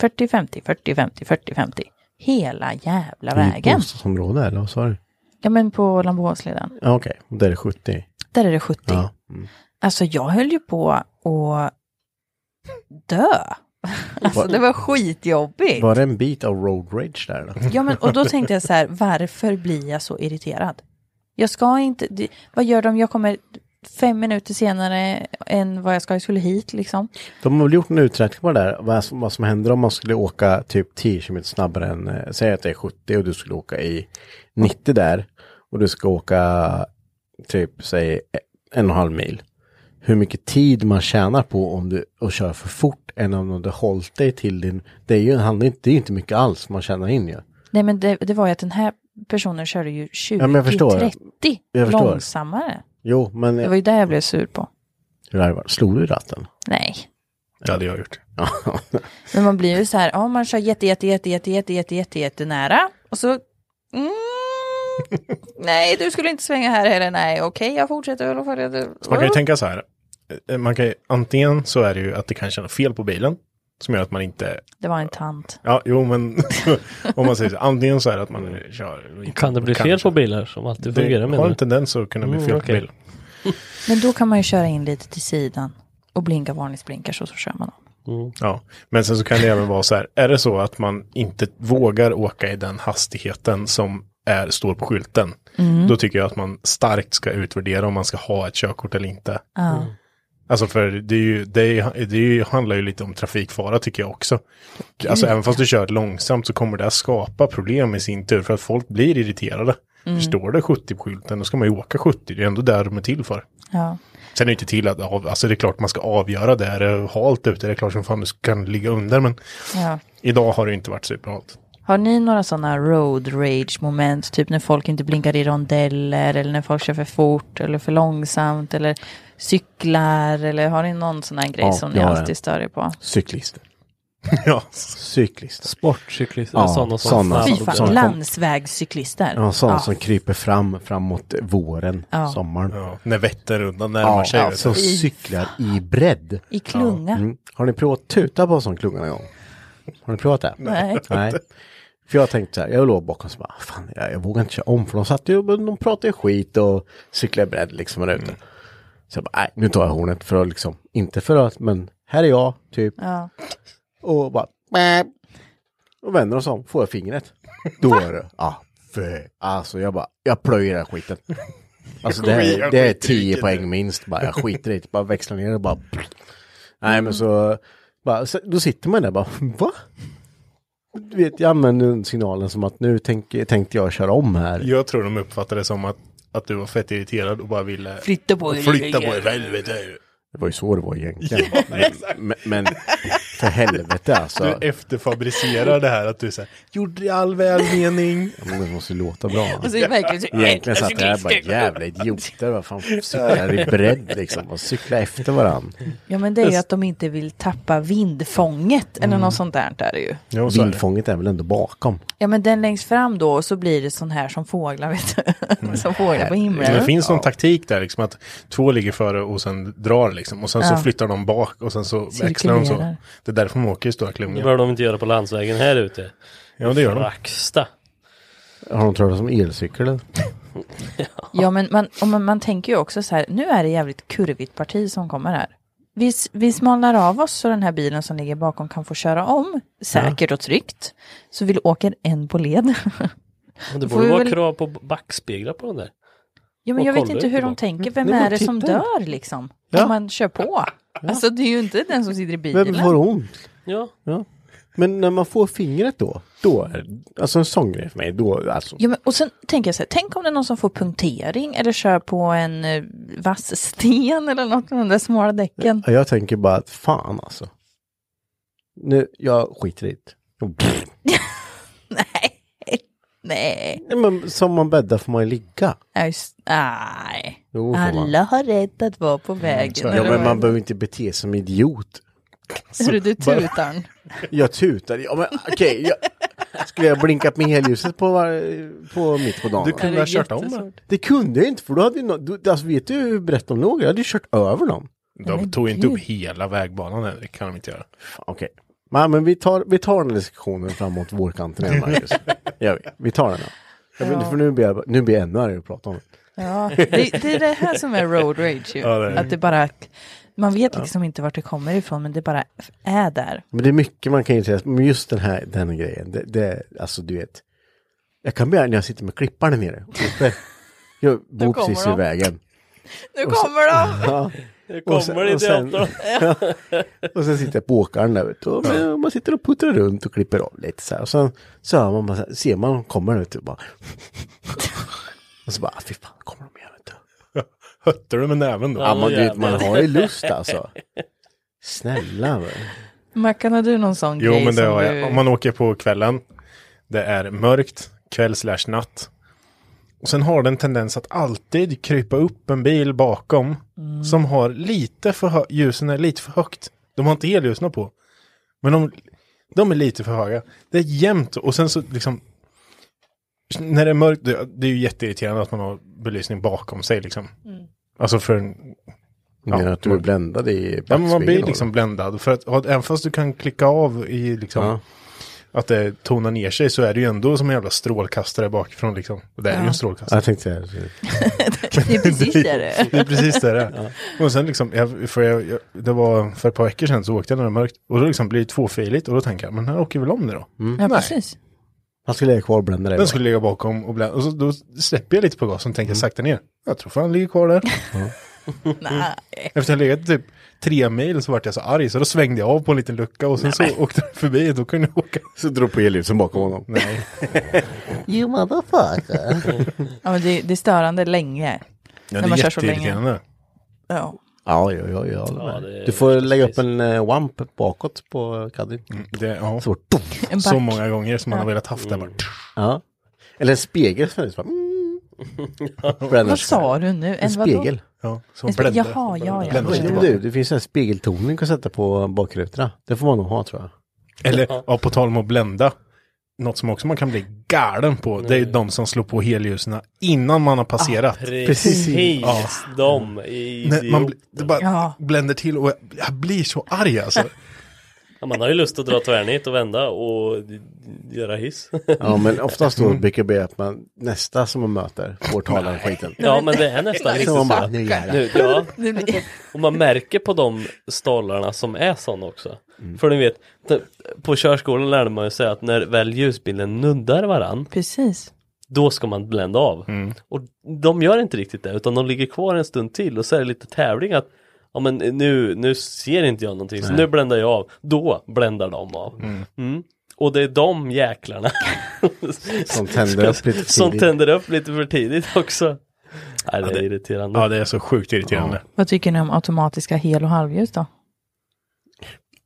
S4: 40, 50, 40, 50, 40, 50. Hela jävla
S3: I
S4: vägen.
S3: bostadsområde eller vad sa du?
S4: Ja men på Lambohovsleden.
S3: Ja, Okej, Och där är 70.
S4: Där är det 70.
S3: Ja.
S4: Alltså jag höll ju på att dö. Alltså
S3: Var-
S4: det var skitjobbigt.
S3: Var det en bit av road rage där? Då?
S4: Ja men och då tänkte jag så här, varför blir jag så irriterad? Jag ska inte, det- vad gör de, jag kommer fem minuter senare än vad jag ska, jag skulle hit liksom.
S3: De har väl gjort en uträkning på det där, vad som, vad som händer om man skulle åka typ 10 km snabbare än, eh, säg att det är 70 och du skulle åka i 90 där och du ska åka typ säg en och en halv mil. Hur mycket tid man tjänar på om du och kör för fort än om du hållit dig till din, det är ju handlar inte, det är ju inte mycket alls man tjänar in ju.
S4: Nej men det, det var ju att den här personen körde ju 20,
S3: Ja, men jag förstår.
S4: 30
S3: Jag förstår.
S4: långsammare.
S3: Jo, men
S4: Det var ju där jag blev sur på.
S3: hur har det varit? Slog du ratten?
S4: Nej.
S7: Det hade jag gjort.
S3: Ja,
S4: Men man blir ju så här, ja man kör jätte, jätte, jätte, jätte, jätte, jätte, jätte, jätte nära. Och så, mm, nej du skulle inte svänga här heller, nej okej jag fortsätter väl och följa det.
S7: Man kan ju tänka så här. eh, Man kan ju, antingen så är det ju att det kanske är något fel på bilen som gör att man inte
S4: Det var en tant.
S7: Ja, jo men om man säger så, antingen så är det att man kör.
S6: Kan det bli fel på bilar som alltid fungerar
S7: Det
S6: med
S7: har en tendens att kunna bli
S6: Mm,
S7: fel på
S6: okej.
S7: bil.
S4: Men då kan man ju köra in lite till sidan och blinka varningsblinkers och så kör man. om.
S7: Ja, men sen så kan det även vara så här, är det så att man inte vågar åka i den hastigheten som är, står på skylten, då tycker jag att man starkt ska utvärdera om man ska ha ett körkort eller inte. Alltså för det, är ju, det, är, det är ju, handlar ju lite om trafikfara tycker jag också. Alltså även fast du kör långsamt så kommer det att skapa problem i sin tur för att folk blir irriterade. Mm. Står det 70 på skylten då ska man ju åka 70, det är ändå där de är till för.
S4: Ja.
S7: Sen är det inte till att, av- alltså det är klart man ska avgöra det, är det halt ute, det är klart som fan du kan ligga under men
S4: ja.
S7: idag har det inte varit superhalt.
S4: Har ni några sådana road rage moment, typ när folk inte blinkar i rondeller eller när folk kör för fort eller för långsamt eller cyklar eller har ni någon sån här grej
S3: Ja,
S4: som
S3: jag
S4: ni
S3: har
S4: alltid
S3: en.
S4: stör er på?
S3: Cyklister.
S7: ja.
S3: Cyklister.
S6: Sportcyklister,
S3: Ja,
S6: sådana som
S3: sådana.
S6: fan
S4: Fy
S3: Fy
S6: dog.
S3: fan,
S4: fan,
S3: sådana.
S4: landsvägscyklister.
S3: Ja, sådana som kryper fram framåt våren,
S4: Ja.
S3: sommaren.
S7: ja, när Vätternrundan närmar sig. vet
S3: som
S7: du.
S3: cyklar i bredd.
S4: I klunga.
S3: Mm. Har ni provat att tuta på en sån klunga någon gång? Har ni provat det?
S4: Nej.
S3: Nej. För jag tänkte så här, jag låg bakom så bara, fan jag, jag vågar inte köra om för de satt ju, men de pratade ju skit och cyklade i bredd liksom där
S7: Mm.
S3: ute. Så jag bara, nej nu tar jag hornet för att liksom, inte för att, men här är jag typ.
S4: Ja.
S3: Och bara, "Mäh." och vänder oss om, får jag fingret. Då är det, ja, för, alltså jag bara, jag plöjer den här skiten. Alltså det,
S7: Jag
S3: är-
S7: skiter-
S3: det är
S7: jag skiter i
S3: 10
S7: det.
S3: poäng minst, bara jag skiter i det, bara växlar ner och bara. Nej men så, bara, så, då sitter man där bara, va? Du vet, jag använder den signalen som att nu tänk, tänkte jag köra om här.
S7: Jag tror de uppfattade det som att, att du var fett irriterad och bara ville
S4: Flytta på
S7: flytta på dig för helvete.
S3: Det var ju så det var egentligen. men, men, men för helvete alltså.
S7: Du efterfabricerar det här att du säger gjorde i all välmening.
S3: Men Det måste ju låta bra.
S7: Alltså,
S4: Och så är Alltså, det verkligen så,
S3: Egentligen satt jag här och bara jävla idioter, vad fan cyklar i bredd liksom och cyklar efter varann.
S4: Ja men det är ju att de inte vill tappa vindfånget
S3: Mm.
S4: eller något sånt där är det ju.
S7: Jo, så är det.
S3: Vindfånget är väl ändå bakom.
S4: Ja men den längst fram då och så blir det sån här som fåglar vet du. som fåglar på
S7: Men det
S4: himlen.
S7: finns någon taktik där liksom att två ligger före och sen drar liksom och sen så flyttar de bak och sen så växlar de så.
S4: Cirkulerar.
S7: Det är därför de åker i stora
S6: Det
S7: klungor.
S6: bör de inte göra på landsvägen här ute.
S7: Ja det gör de.
S6: Racksta.
S3: Har de talat om elcykel? eller?
S4: Ja men man, och man, man tänker ju också så här, nu är det jävligt kurvigt parti som kommer här. Vi, s- vi smalnar av oss så den här bilen som ligger bakom kan få köra om säkert och tryggt. Så vi åker en på led.
S6: Men Det
S4: Då
S6: borde
S4: får vi
S6: vara
S4: väl-
S6: krav på backspeglar på den där.
S4: Ja, men
S6: Och
S4: jag vet
S6: kollar
S4: inte hur de
S6: tillbaka.
S4: tänker. Vem
S3: Nej, men
S4: är det som
S3: titta.
S4: dör liksom?
S3: Ja.
S4: Om man kör på. Alltså det är ju inte den som sitter i bilen.
S3: Vem får ont?
S6: Ja,
S3: Ja. Men när man får fingret då, då är det, alltså en sån grej för mig, då alltså.
S4: Ja, men, och sen tänker jag så här, tänk om det är någon som får punktering eller kör på en eh, vass sten eller något med de där smala däcken.
S3: Ja, Jag tänker bara att fan alltså. Nu, jag skiter i det. Och pff.
S4: Nej, nej,
S3: Nej, men som man bäddar får man ju ligga.
S4: Ja, just- nej.
S3: Jo, får man.
S4: Alla har rätt att vara
S7: Mm,
S4: på vägen.
S3: Ja,
S4: eller
S3: men man
S4: vad?
S3: behöver inte bete sig som idiot.
S4: Hörru du tutarn.
S3: Jag tutar, ja men okej. jag... Skulle jag blinkat med helljuset på, var- på mitt på dagen?
S7: Du kunde
S4: det
S7: ha
S4: är
S7: kört om
S4: jättesvårt.
S7: det.
S3: Det kunde jag inte för då hade ju no... du, alltså, vet du hur brett de låg? Jag hade ju kört över dem.
S7: De tog inte upp hela vägbanan än, det kan de inte göra.
S3: Fan, Okej. Nej, men vi tar, vi tar den här diskussionen framåt vårkanten igen Marcus. Gör vi. vi tar den då. Jag vet inte, för nu blir jag, nu blir jag ännu argare att prata om det.
S4: Ja, det, det är det här som är road rage ju.
S7: det är det.
S4: Att det bara, man vet liksom inte vart det kommer ifrån men det bara är där.
S3: Men det är mycket man kan irritera sig på. Men just den här, den här grejen, det, det, alltså du vet. Jag kan bli när jag sitter med klipparen nere och klipper. Jag bor
S4: kommer
S3: precis
S4: de.
S3: i vägen.
S4: Nu kommer de!
S3: Ja.
S6: det
S3: Och sen-
S6: kommer det
S3: och sen-
S6: idioter.
S3: Och sen sitter jag på åkaren där ute och men man sitter och puttrar runt och klipper av lite så här. Och sen så hör man, bara så här, ser man dem kommer ut och bara. och så bara, "Ah, fy fan, kommer de igen vet du.
S7: Hötter du med näven då?
S3: Ja, man,
S6: Åh,
S3: du vet, man
S6: jävlar.
S3: har ju lust alltså. Snälla. va.
S4: Mackan, har du någon sån
S7: Jo
S4: grej
S7: men det
S4: som
S7: har
S4: du...
S7: jag. Om man åker på kvällen, det är mörkt, kväll slash natt. Och sen har den tendens att alltid krypa upp en bil bakom som har lite för hö- ljusen är lite för högt. De har inte elljusen på. Men de, de är lite för höga. Det är jämnt och sen så liksom när det är mörkt, det, det är ju jätteirriterande att man har belysning bakom sig liksom. Alltså för en
S3: Menar
S7: Ja,
S3: att du är
S7: man-
S3: bländad i
S7: Ja, men man
S3: backspegeln
S7: blir
S3: då?
S7: liksom bländad. För att, och även fast du kan klicka av i liksom,
S3: Ja.
S7: att det tonar ner sig så är det ju ändå som en jävla strålkastare bakifrån. Liksom. Och det är ju en
S3: Ja,
S7: strålkastare.
S3: jag tänkte säga det.
S4: Det är precis det det är.
S7: Det är precis det det är. Och sen liksom, jag, för jag, jag, det var för ett par veckor sedan så åkte jag när det var mörkt. Och då liksom blir det tvåfiligt och då tänker jag, men den här åker väl om det då?
S4: Ja, precis.
S3: Han skulle ligga kvar och blända dig. va?
S7: Den
S3: Mm.
S7: skulle ligga bakom och, blä, och så, då släpper jag lite på gasen och tänker sakta ner. Jag tror fan den ligger kvar där.
S4: Nej.
S7: Efter att jag legat typ tre mil så vart jag så arg så då svängde jag av på en liten lucka och sen så åkte den förbi och då kunde jag åka.
S3: Så drog på elljusen bakom honom.
S7: Nej.
S9: You motherfucker.
S4: Ja, men det, det är störande länge.
S7: Ja,
S4: När
S7: det
S4: man
S7: är
S4: kör så länge.
S7: jätteirriterande.
S4: Ja.
S3: Ja, ja, ja, ja.
S6: Ja, det är
S3: Du får
S6: precis.
S3: lägga upp en eh, wamp bakåt på caddien.
S7: Mm, Det, ja,
S3: Så, Mm. tuff.
S4: En
S7: så
S4: back.
S7: många gånger som man har velat haft den bara.
S3: ja. Eller en spegel som är så bara, mm. Bränner.
S4: Vad sa du nu?
S3: En
S4: vadå?
S3: spegel.
S7: Ja, som
S4: En spe-
S7: bländar.
S4: Jaha, ja, ja.
S7: Bländar sig
S3: Ja, men
S7: tillbaka.
S3: du, det finns en spegeltoning att sätta på bakrutorna. Det får man nog ha tror jag.
S7: Eller, ja, på tal om att blända. Något som också man kan bli galen på, det är
S3: Mm.
S7: ju de som slår på helljusen innan man har passerat.
S3: Ah,
S6: Precis,
S7: Ja.
S6: de
S7: Nej,
S6: idioter.
S7: man bl- det bara
S4: Ja.
S7: bländer till och jag, jag blir så arg alltså.
S6: ja, man har ju lust att dra tvärnit och vända och d- göra hiss.
S3: Ja, men oftast
S7: Mm.
S3: då brukar det bli att man, nästa som man möter får tala om skiten.
S6: ja, men det är nästan
S3: Så
S6: riktigt
S3: man bara,
S6: så.
S3: nu jävlar.
S6: Nu, ja.
S4: Nu blir-
S6: Och man märker på de stallarna som är sådana också. För ni vet, t- på körskolan lärde man ju sig att när väl ljusbilden nuddar varann,
S4: Precis.
S6: då ska man blända av. Och de gör inte riktigt det, utan de ligger kvar en stund till och så är det lite tävling att Ja men nu, nu ser inte jag någonting så nu bländar jag av. Då bländar de av. Mm. Och det är de jäklarna
S3: Som tänder upp lite för
S6: som
S3: tidigt.
S6: tänder upp lite för tidigt också. Nej, det är
S7: det-
S6: irriterande.
S7: Ja, det är så sjukt irriterande.
S4: Vad tycker ni om automatiska hel och halvljus då?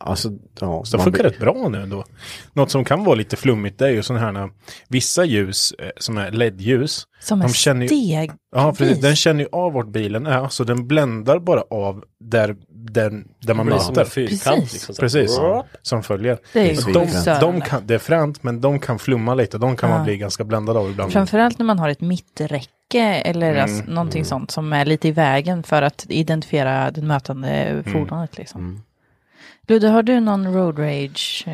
S3: Alltså, ja.
S7: Så det
S3: man
S7: funkar
S3: blir-
S7: rätt bra nu ändå. Något som kan vara lite flummigt det är ju sådana här när- vissa ljus eh, som är LED-ljus.
S4: Som
S7: de
S4: en
S7: känner ju,
S4: steg.
S7: ja, precis,
S4: vis.
S7: den känner ju av vart bilen är, så den bländar bara av där, där, där man
S6: Det blir som en
S7: möter.
S6: fyrkant.
S4: Precis.
S6: Liksom, så.
S7: Precis, som följer.
S4: Det är
S3: Precis.
S4: ju
S7: De,
S4: störande.
S7: de kan, det är fränt, men de kan flumma lite. De kan man
S4: Ja.
S7: bli ganska bländad av ibland.
S4: Framförallt när man har ett mitträcke eller
S7: Mm,
S4: alltså någonting sånt som är lite i vägen för att identifiera det
S7: Mm.
S4: mötande fordonet. Liksom. Ludde, har du någon road rage eh,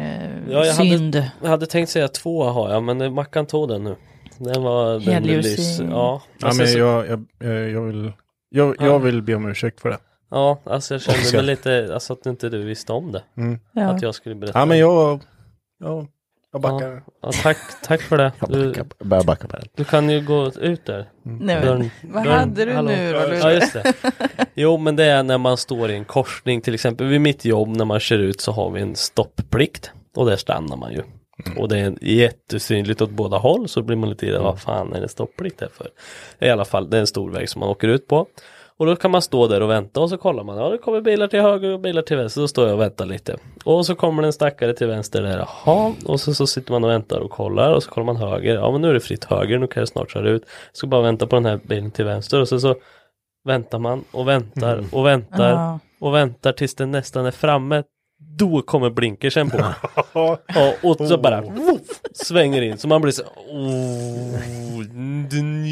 S6: Ja, jag
S4: synd?
S6: hade, jag hade tänkt säga två har jag, men eh, Mackan tog den nu. Den var... Den blev
S4: Helljus i-
S6: lys. Ja,
S7: Ja,
S6: alltså,
S7: men
S6: så-
S7: jag, jag, eh, jag, jag, vill, jag, jag vill be om ursäkt för det.
S6: ja, alltså jag kände
S7: Oskar.
S6: mig lite, alltså att inte du visste om det.
S4: Ja.
S6: Att jag skulle berätta.
S7: Ja, men jag, jag, jag backar.
S6: Ja, ja, tack, tack för det.
S3: Jag
S6: Du,
S3: backar, jag börjar backa på den.
S6: du kan ju gå ut där.
S4: Nej, men,
S6: Dörren-
S4: vad
S6: dörren-
S4: hade du
S6: Hallå.
S4: nu då, Ludde?
S6: Ja, just det. Jo, men det är när man står i en korsning, till exempel vid mitt jobb när man kör ut så har vi en stopplikt och där stannar man ju. Och det är jättesynligt åt båda håll så blir man lite irriterad, vad fan är det stopplikt här för? I alla fall, det är en stor väg som man åker ut på. Och då kan man stå där och vänta och så kollar man, ja det kommer bilar till höger och bilar till vänster, så står jag och väntar lite. Och så kommer det en stackare till vänster där, jaha, och så, så sitter man och väntar och kollar och så kollar man höger, ja men nu är det fritt höger, nu kan jag snart köra ut. Jag ska bara vänta på den här bilen till vänster och så, så väntar man och väntar och väntar
S4: Ja.
S6: och väntar tills den nästan är framme. Då kommer blinkersen på. ja, och så bara woof, svänger in. Så man blir så oh, din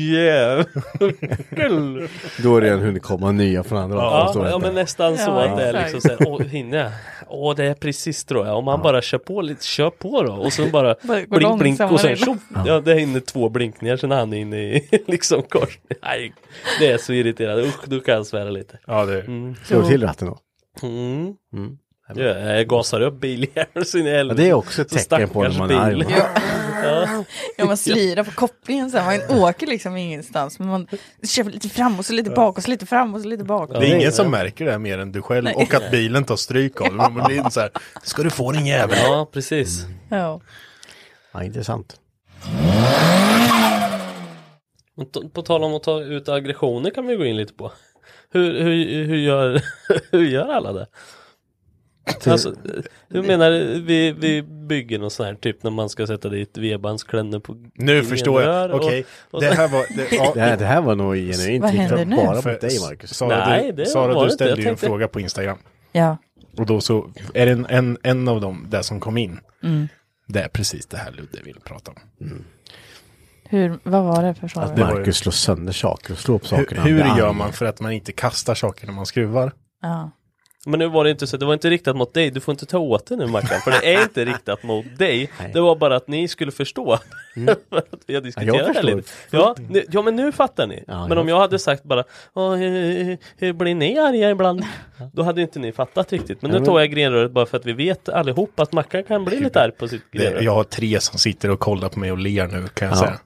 S6: jävel.
S3: Då är det en hunnit komma nya från andra hållet.
S6: Ja,
S3: Står det
S6: ja
S3: inte.
S6: men nästan så
S4: Ja,
S6: att det är
S4: exakt.
S6: liksom så här, åh hinner jag? Åh det är precis tror jag. Om man bara kör på lite, kör på då. Och sen bara
S4: Bara gå
S6: blink blink och sen
S4: långsammare.
S6: tjoff. Ja det hinner två blinkningar sen är han inne i liksom kors. Nej, det är så irriterande. Usch, då kan jag svära lite.
S7: Ja, det,
S3: Slår till ratten då.
S6: Mm. Ja, jag gasar upp biljärn så in i
S3: Ja,
S6: helvete.
S3: det är också ett
S6: Så
S3: tecken på när
S6: stackars
S3: man är arg.
S6: bil.
S3: va?
S6: Ja.
S4: Ja, man slirar på kopplingen så här. Man åker liksom ingenstans. Men man kör lite fram och så lite bak och så lite fram och så lite bak.
S7: det är ingen som märker det mer än du själv och att bilen tar stryk av det. Man blir så här, ska du få din jävel?
S6: ja, precis.
S4: Ja.
S3: Ja, intressant.
S6: Men t- på tal om att ta ut aggressioner kan vi gå in lite på. Hur, hur, hur, gör, hur gör alla det? Alltså, hur menar du, vi, vi bygger någon sån här typ när man ska sätta dit vedbandsklännor på
S7: Nu förstår jag.
S6: grenrör och-
S7: Okej,
S6: och-
S7: det här var... Det, ja,
S3: Det här, det här var nog genuint
S4: Vad händer
S3: riktat
S4: nu?
S3: bara
S7: för-
S3: mot dig, Marcus.
S7: Sara,
S6: Nej,
S7: du,
S6: det
S7: Sara,
S6: var
S7: du
S6: det inte. Jag
S7: ställde ju en
S6: tänkte-
S7: fråga på Instagram.
S4: ja.
S7: Och då så är det en, en, en av dem, där som kom in.
S6: Mm.
S7: Det är precis det här Ludde vill prata om.
S4: Hur, vad var det för fråga?
S3: Att
S7: det var ju-
S3: Marcus slår sönder saker och slår upp saker.
S7: Hur,
S3: när han
S7: hur
S3: blir
S7: gör
S3: arg.
S7: man för att man inte kastar saker när man skruvar?
S4: Ja.
S6: Men nu var det inte så, det var inte riktat mot dig, du får inte ta åt dig nu Mackan, för det är inte riktat mot dig. Det var bara att ni skulle förstå. för att vi har diskuterat
S3: Mm. Ja, jag
S6: det här
S3: förstår. Mm.
S6: lite. Ja, nu, ja, men nu fattar ni.
S3: Ja,
S6: men
S3: jag
S6: om jag hade sagt bara, "Åh, hur, hur, hur blir ni arga ibland? Då hade inte ni fattat riktigt. Men nu tar jag grenröret bara för att vi vet allihop att Mackan kan bli lite arg på sitt
S7: Det,
S6: grenrör.
S7: jag har tre som sitter och kollar på mig och ler nu kan jag
S3: Ja.
S7: säga.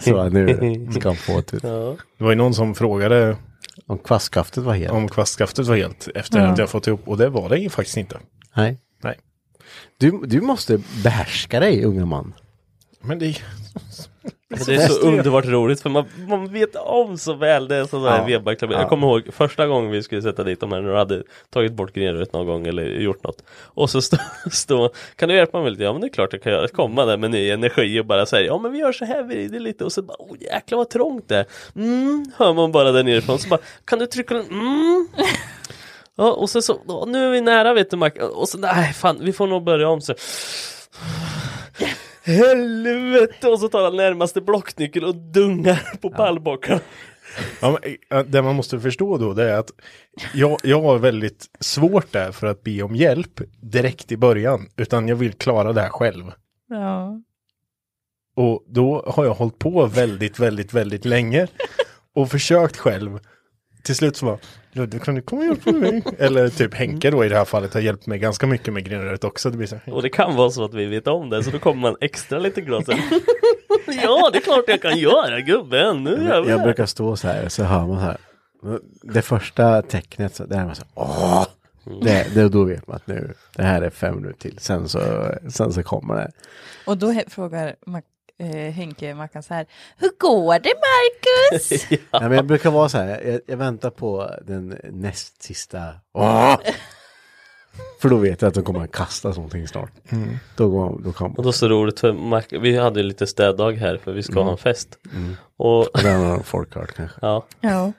S3: Så nu ska han få ett ut.
S6: Ja.
S7: Det var ju någon som frågade
S9: Om kvastkaftet var helt.
S7: Om kvastskaftet var helt efter att jag fått ihop. Och det var det ju faktiskt inte.
S9: Nej.
S7: Nej.
S9: Du, du måste behärska dig, unga man.
S7: Men det...
S6: Men Alltså, Det är så underbart roligt för man, man vet om så väl det är sådana här vevbackklaver. Jag kommer ihåg första gången vi skulle sätta dit de här när du hade tagit bort grenröret någon gång eller gjort något. Och så stå, stå kan du hjälpa mig lite? Ja men det är klart jag kan göra. Komma där med ny energi och bara säga ja men vi gör så här, vi rider lite och så bara oh jäklar vad trångt det är. Mm, hör man bara där nerifrån så bara kan du trycka den? Mm. Ja, och sen så, ja, nu är vi nära vet du Mac. Och så nej fan vi får nog börja om så. Helvete! Och så tar han närmaste blocknyckel och dungar på pallbockarna.
S7: Ja, men, eh, det man måste förstå då det är att jag, jag har väldigt svårt där för att be om hjälp direkt i början. Utan jag vill klara det här själv.
S4: Ja.
S7: Och då har jag hållit på väldigt, väldigt, väldigt länge. Och försökt själv. Till slut så bara, Ludde kan du komma och hjälpa mig? Eller typ Henke då i det här fallet har hjälpt mig ganska mycket med grenröret också. Det blir så här,
S6: Och det kan vara så att vi vet om det, så då kommer man extra lite glad sen. Ja, det är klart jag kan göra gubben! Nu gör vi
S3: Jag
S6: det.
S3: brukar stå så här, så hör man så här. Det första tecknet, så där är man så här, åh! Det, det, då vet man att nu, det här är fem minuter till, sen så, sen så kommer det.
S4: Och då he- frågar Mac, eh, Henke Mackan så här, hur går det Marcus?
S3: Ja. men jag brukar vara så här, jag, jag väntar på den näst sista, åh! För då vet jag att de kommer att kasta någonting snart. Då, går, då kommer
S6: Och då så roligt för Mac, vi hade ju lite städdag här för vi ska
S3: Mm.
S6: ha en fest. Och,
S3: Den har folk hört kanske.
S6: ja,
S4: ja,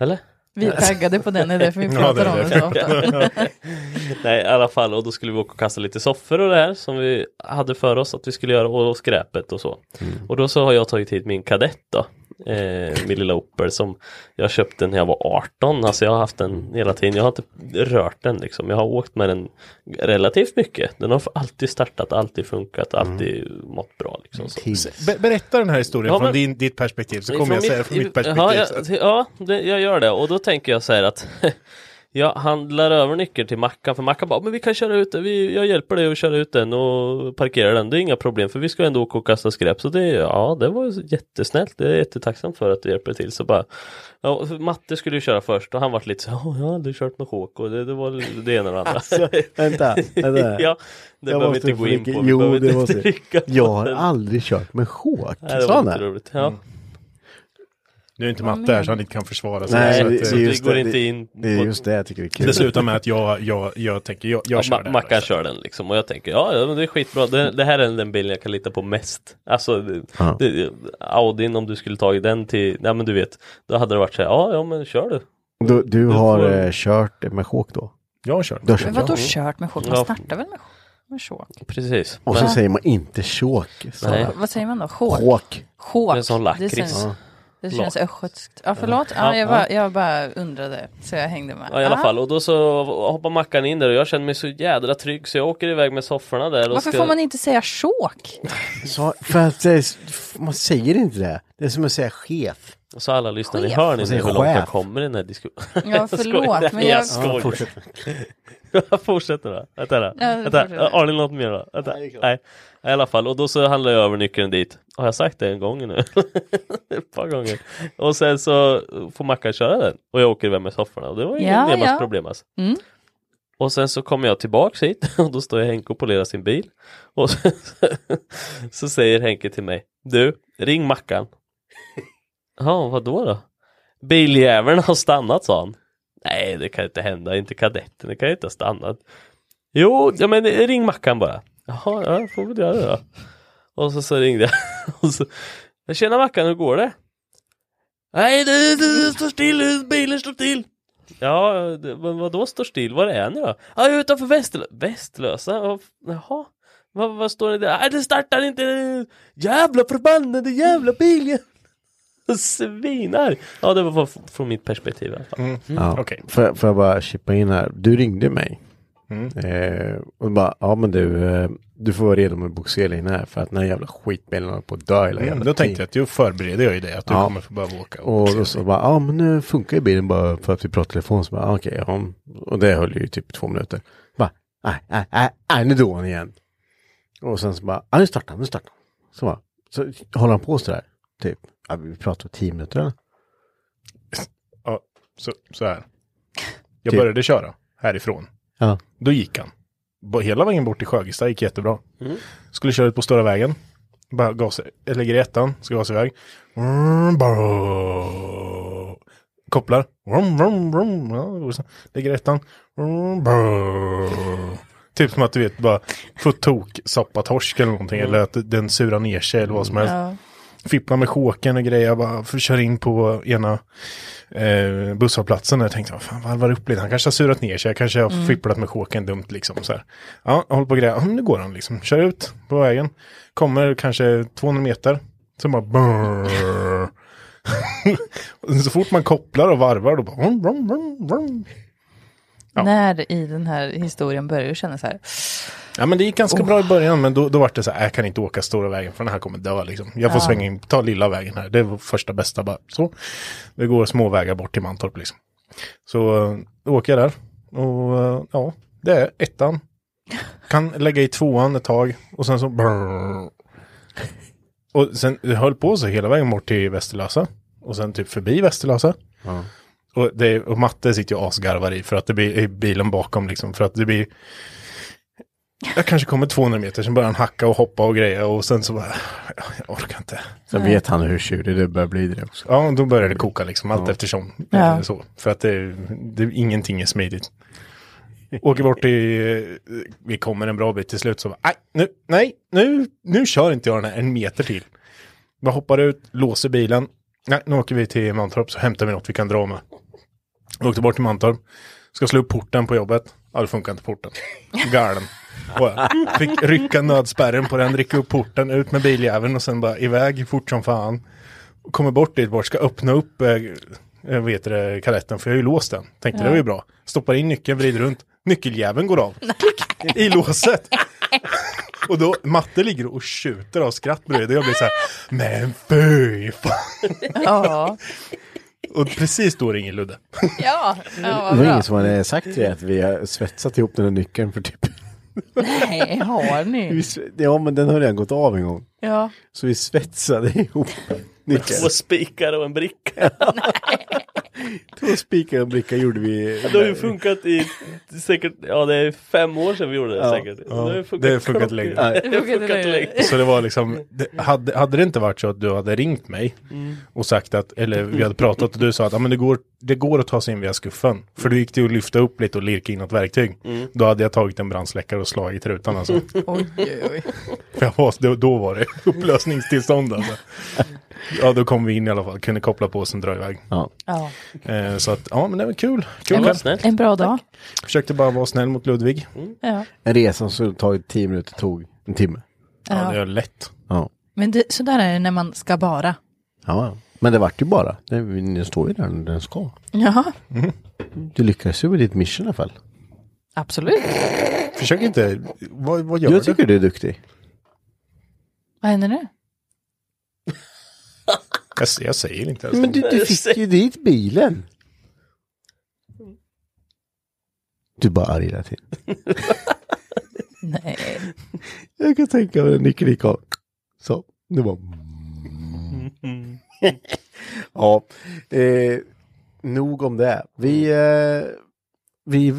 S6: eller?
S4: vi är taggade på den, det är därför vi pratar
S7: det är
S4: om den så ofta.
S6: Nej, i alla fall, och då skulle vi åka och kasta lite soffor och det här som vi hade för oss att vi skulle göra och skräpet och så. Och då så har jag tagit hit min kadett då, eh, min lilla Opel som jag köpte när jag var 18. Alltså jag har haft den hela tiden, jag har inte rört den liksom. Jag har åkt med den relativt mycket. Den har alltid startat, alltid funkat, alltid mått bra liksom. Så.
S7: Be- berätta den här historien
S6: Ja, men-
S7: från din, ditt perspektiv så
S6: Men
S7: kommer jag säga det från mitt perspektiv.
S6: Ja,
S7: så
S6: jag,
S7: att-
S6: ja det, jag gör det. Och då tänker jag så här att jag handlar över nyckeln till Mackan, för Mackan bara, men vi kan köra ut den, vi, jag hjälper dig att köra ut den och parkera den, det är inga problem, för vi ska ändå åka och kasta skräp. Så det, ja, det var ju jättesnällt, det är jag jättetacksam för att du hjälper till. Så bara, ja, för Matte skulle ju köra först och han vart lite så här, "Ja, jag har aldrig kört med sjåk och det, det var det ena och det andra.
S3: Alltså, Vänta, vänta.
S6: ja, det
S3: Jag
S6: behöver vi
S3: måste
S6: inte gå in på,
S3: flika-
S6: vi
S3: Jo,
S6: behöver
S3: det
S6: inte
S3: måste
S6: trycka på
S3: Jag har
S6: den.
S3: aldrig kört Mm. med sjåk.
S6: Nej, det
S3: Sa
S6: var
S3: han
S6: lite
S3: det?
S6: roligt. Ja.
S7: Nu är inte Matte här så han inte kan försvara sig.
S3: Nej,
S7: så
S3: det,
S7: att,
S3: det,
S7: eh,
S3: är
S6: vi
S3: just
S6: går
S3: det,
S6: inte
S3: det-
S6: in
S3: Det är
S6: på-
S3: just det jag tycker är kul.
S7: det slutar med att jag, jag, jag tänker, jag, jag
S6: Ja,
S7: kör
S6: Ma-
S7: det här.
S6: Mackan kör den liksom och jag tänker ja, ja men det är skitbra. Det, det här är den bilen jag kan lita på mest. Alltså det,
S3: Ja.
S6: det, Audin om du skulle tagit den till, nej men du vet, då hade det varit så här, ja, ja men kör du.
S3: Du, du har
S6: får-
S3: eh, kört med sjåk då?
S7: Jag kör.
S3: Du har kört
S4: Men vadå
S3: sjåk.
S4: kört med sjok?
S6: Ja.
S4: Man startar väl med, sj- med sjok?
S6: Precis.
S3: Och så
S6: men,
S3: säger man inte sjåk. sa
S6: Nej.
S3: han.
S4: Vad säger man då? Sjok?
S3: Sjåk.
S4: Sjok.
S6: Det är som lakrits.
S4: känns,
S6: Ja.
S4: det känns
S6: Lak.
S4: östgötskt. Ja, förlåt. Ja, jag, bara, jag bara undrade, så jag hängde med.
S6: ja, i alla
S4: Ah,
S6: fall och då så hoppar Mackan in där och jag känner mig så jädra trygg så jag åker iväg med sofforna där. Och
S4: Varför
S6: ska...
S4: får man inte säga sjok?
S3: Så, för att det, är s- f- man säger inte det. Det är som att säga chef.
S6: Så alla lyssnar, ni
S4: Chef.
S6: hör ni
S3: Och säger
S6: hur långt jag
S3: chef.
S6: kommer i den här diskussionen?
S4: Ja,
S6: Jag skojar.
S4: förlåt,
S6: Nej,
S4: men jag-
S6: skojar. Jag fortsätter då. Vänta då.
S4: Ja,
S6: Vänta.
S4: fortsätt.
S6: Har ni något mer då? Vänta. Nej. I alla fall, och då så handlar jag över nyckeln dit. Har jag sagt det en gång nu? Ett par gånger. Och sen så får Mackan köra den. Och jag åker iväg med sofforna. Och det var
S4: Ja,
S6: inget ja,
S4: ja.
S6: problem alltså.
S4: Mm.
S6: Och sen så kommer jag tillbaks hit och då står jag Henke och polerar sin bil. Och så, så säger Henke till mig. Du, ring Mackan. Ja, vad då då? Biljäveln har stannat sa han. Nej, det kan inte hända, inte kadetten, det kan ju inte ha stannat. Jo, ja men ring Mackan bara. Jaha, ja, jag får väl göra det då. Och så, så ringde jag. Och så, Tjena Mackan, hur går det? Nej, det, det, det står still, bilen står still. Ja, det, men vadå står still? Var är ni då? Ja, jag är utanför Västlö Västlösa. Ja, f- Jaha, vad, vad står ni där? Nej, det startar inte. Jävla förbannade jävla biljävel. Svinar! Ja, det var f- från mitt perspektiv i alla fall.
S7: Mm,
S3: Ja.
S7: okej.
S3: Får, får jag bara chippa in här? Du ringde mig.
S7: Mm.
S3: Eh, och bara, ja men du, eh, du får vara redo med boxerlinjen här för att den här jävla skitbilen håller på att dö hela
S7: Mm,
S3: jävla
S7: då tänkte
S3: tiden."
S7: jag att du förbereder jag ju dig att du
S3: Ja.
S7: kommer få behöva åka.
S3: Och då så bara, ja men nu funkar ju bilen bara för att vi pratar telefon. Så bara, "Ah, okej, ja. Och det höll ju typ två minuter. Bara, nej, nej, nej, nej, nu dog han igen. Och sen så bara, ja nu startar han, nu startar han. Så bara, så håller han på sådär, typ. Ja, vi pratar tio minuter eller?
S7: Ja, Så, så här. Jag
S3: Typ.
S7: började köra härifrån.
S3: Ja.
S7: Då gick han. Bo- Hela vägen bort till Sjögesta gick jättebra. Skulle köra ut på stora vägen. Bara gas, jag lägger i ettan, ska gasa iväg. Vroom, brrr. Kopplar. Vroom, vroom, vroom. Ja, det går så. Lägger i ettan. Vroom, brrr. Typ som att du vet bara få tok, soppa torsk eller någonting. Eller att den surar ner sig eller vad som helst
S4: Ja.
S7: fippla med choken och grejer. Jag bara för- kör in på ena eh, busshållplatsen. Jag tänkte, vad fan varvar upp lite. Han kanske har surat ner sig. Jag kanske har fipplat med choken dumt liksom. Så här. Ja, jag håller på och grejer. Ja, men nu går han liksom. Kör ut på vägen. Kommer kanske 200 meter. Så bara brrr. Så fort man kopplar och varvar då bara... Vrum, vrum, vrum, vrum. Ja.
S4: När i den här historien börjar du känna så här,
S7: Ja men det gick ganska bra i början men då, då var det så här, "Äh, jag kan inte åka stora vägen för den här kommer dö liksom. Jag får svänga in, ta lilla vägen här, det var första bästa bara så. Det går små vägar bort till Mantorp liksom. Så eh, då åker jag där och eh, ja, det är ettan. Kan lägga i tvåan ett tag och sen så brrr. Och sen det höll på så hela vägen bort till Västerlösa och sen typ förbi Västerlösa. Och, det, och matte sitter ju asgarvar i för att det blir i bilen bakom liksom för att det blir jag kanske kommer 200 meter, sen börjar han hacka och hoppa och greja och sen så bara, jag orkar inte.
S3: Sen vet han hur tjurig du börjar bli i det också.
S7: Alltså. Ja, då börjar det koka liksom, allt eftersom.
S4: Ja.
S7: Eh, Så, för att det, det, ingenting är smidigt. Åker bort i, eh, vi kommer en bra bit till slut så bara, nej, nu, nej, nu, nu kör inte jag den här en meter till. Jag hoppar ut, låser bilen, nej, nu åker vi till Mantorp så hämtar vi något vi kan dra med. Jag åkte bort till Mantorp, ska slå upp porten på jobbet, ja det funkar inte porten. Galen. Och jag fick rycka nödspärren på den, rycka upp porten, ut med biljäveln och sen bara iväg fort som fan kommer bort dit bort, ska öppna upp eh, eh, vet du, det, kaletten, för jag har ju låst den. Tänkte det var ju bra. Stoppar in nyckeln, vrider runt. Nyckeljäveln går av. Klick! I låset. Och då, Matte ligger och tjuter av skratt bredvid. Och jag blir så här, men fy fan.
S4: ja,
S7: Och precis då ringer Ludde.
S4: ja, ja
S3: Det
S4: vad
S3: var
S4: bra.
S3: ingen som hade sagt till dig att vi har svetsat ihop den här nyckeln för typ...
S4: Nej, har
S3: Vi
S4: ni?
S3: sve- Ja, men den har redan gått av en gång.
S4: Ja,
S3: Så vi svetsade ihop nyckeln.
S6: Två spikar och en bricka.
S3: Två spikar och bricka gjorde vi.
S6: Det har ju funkat i säkert, ja det är fem år sedan vi gjorde det säkert.
S7: Ja,
S6: har ju
S7: det har funkat länge.
S6: klockrent. Det har
S4: Funkade
S6: funkat
S4: länge.
S6: länge.
S7: Så det var liksom, det, hade, hade det inte varit så att du hade ringt mig
S4: Mm.
S7: och sagt att, eller vi hade pratat och du sa att ah, men det, går, det går att ta sig in via skuffen. För du gick till att lyfta upp lite och lirka in något verktyg. Då hade jag tagit en brandsläckare och slagit rutan alltså.
S4: Mm. oj, oj, oj.
S7: För jag var, då, då var det upplösningstillstånd alltså. Ja, då kom vi in i alla fall, kunde koppla på och sen dra iväg.
S3: Ja.
S4: Ja.
S7: Eh, så att, ja men det var kul.
S6: Det
S7: kul.
S6: var snällt.
S4: En bra dag.
S7: Försökte bara vara snäll mot Ludvig.
S4: Ja.
S3: En resa som skulle tagit tio minuter tog en timme.
S7: Ja,
S4: Ja.
S7: det är lätt.
S3: Ja.
S4: Men det, så där är det när man ska bara.
S3: ja. Men det vart ju bara. Den, den står ju där den ska.
S4: Ja,
S3: Du lyckades ju med ditt mission i alla fall.
S4: absolut.
S7: Försök inte, vad, vad gör
S3: Jag
S7: du?
S3: tycker du är duktig.
S4: Vad händer nu?
S7: Jag, jag säger inte ens
S3: Men du, du fick ju dit bilen. Du är bara arg hela tiden.
S4: Nej.
S3: Jag kan tänka mig en nyckel gick av. Så, nu bara... ja, eh, nog om det. Vi, eh, vi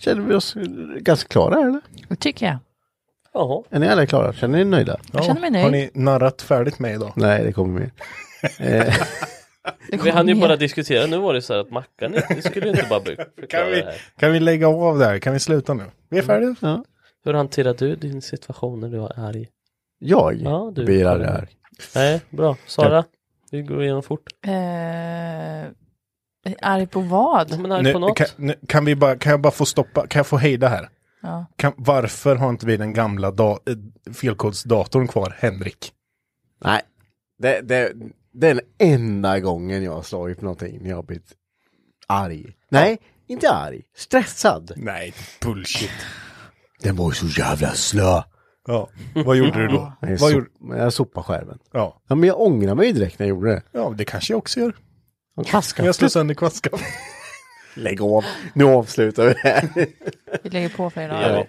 S3: känner vi oss ganska klara eller?
S4: Det tycker jag.
S6: Jaha.
S3: Är ni alla klara? Känner ni er nöjda?
S4: Jag känner mig
S7: Har
S4: nöjd.
S7: ni narrat färdigt med idag?
S3: Nej, det kommer mer.
S4: Det
S6: Vi hann ju
S4: kom
S6: bara
S4: igen.
S6: diskutera, nu var det så här att Mackan inte- vi skulle ju inte bara bygga.
S7: Kan
S6: förklara
S7: vi,
S6: det här.
S7: kan vi lägga av där? Kan vi sluta nu? Vi är färdiga.
S3: Eh, Ja.
S6: Hur hanterar du din situation när du är arg?
S3: Jag
S6: Ja, du.
S3: blir arg här.
S6: Nej, bra. Sara, vi går igenom fort.
S4: Eh, arg på
S6: Ja,
S4: vad?
S6: men arg
S7: Nu,
S6: på något.
S7: kan, nu, kan, vi bara, kan jag bara få stoppa? Kan jag få hejda här?
S4: Ja.
S7: Kan, varför har inte vi den gamla da, eh, felkodsdatorn kvar, Henrik?
S3: Nej, det, det, det är den enda gången jag har slagit på någonting när jag har blivit arg. Nej, inte arg. Stressad.
S7: Nej, bullshit.
S3: Den var ju så jävla slö.
S7: Ja, vad gjorde du då?
S3: Jag,
S7: Vad
S3: sop-
S7: gjorde,
S3: jag sopade skärmen.
S7: ja.
S3: Ja, men jag ångrar mig direkt när jag gjorde det.
S7: ja, det kanske jag också gör.
S3: Jag klaskade.
S7: Jag slår sönder kvaskan.
S3: Lägg av. Nu avslutar vi det här.
S4: Vi lägger på för idag.
S3: Ja.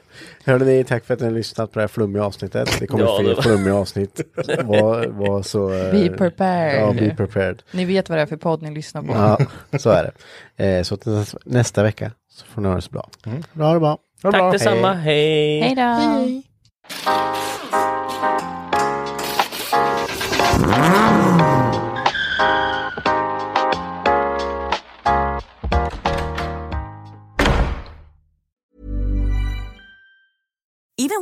S3: Hörde ni, tack för att ni har lyssnat på det här flummiga avsnittet. Det kommer
S6: Ja, det
S3: fler
S6: var-
S3: flummiga avsnitt. Var, var så... eh,
S4: Be prepared.
S3: Ja, be prepared.
S4: Ni vet vad det är för podd ni lyssnar på.
S3: Ja, så är det. Eh, Så till nästa- nästa vecka så får ni ha det så bra. Bra, ha det bra.
S6: Tack detsamma, hej!
S4: Hej då!
S10: Even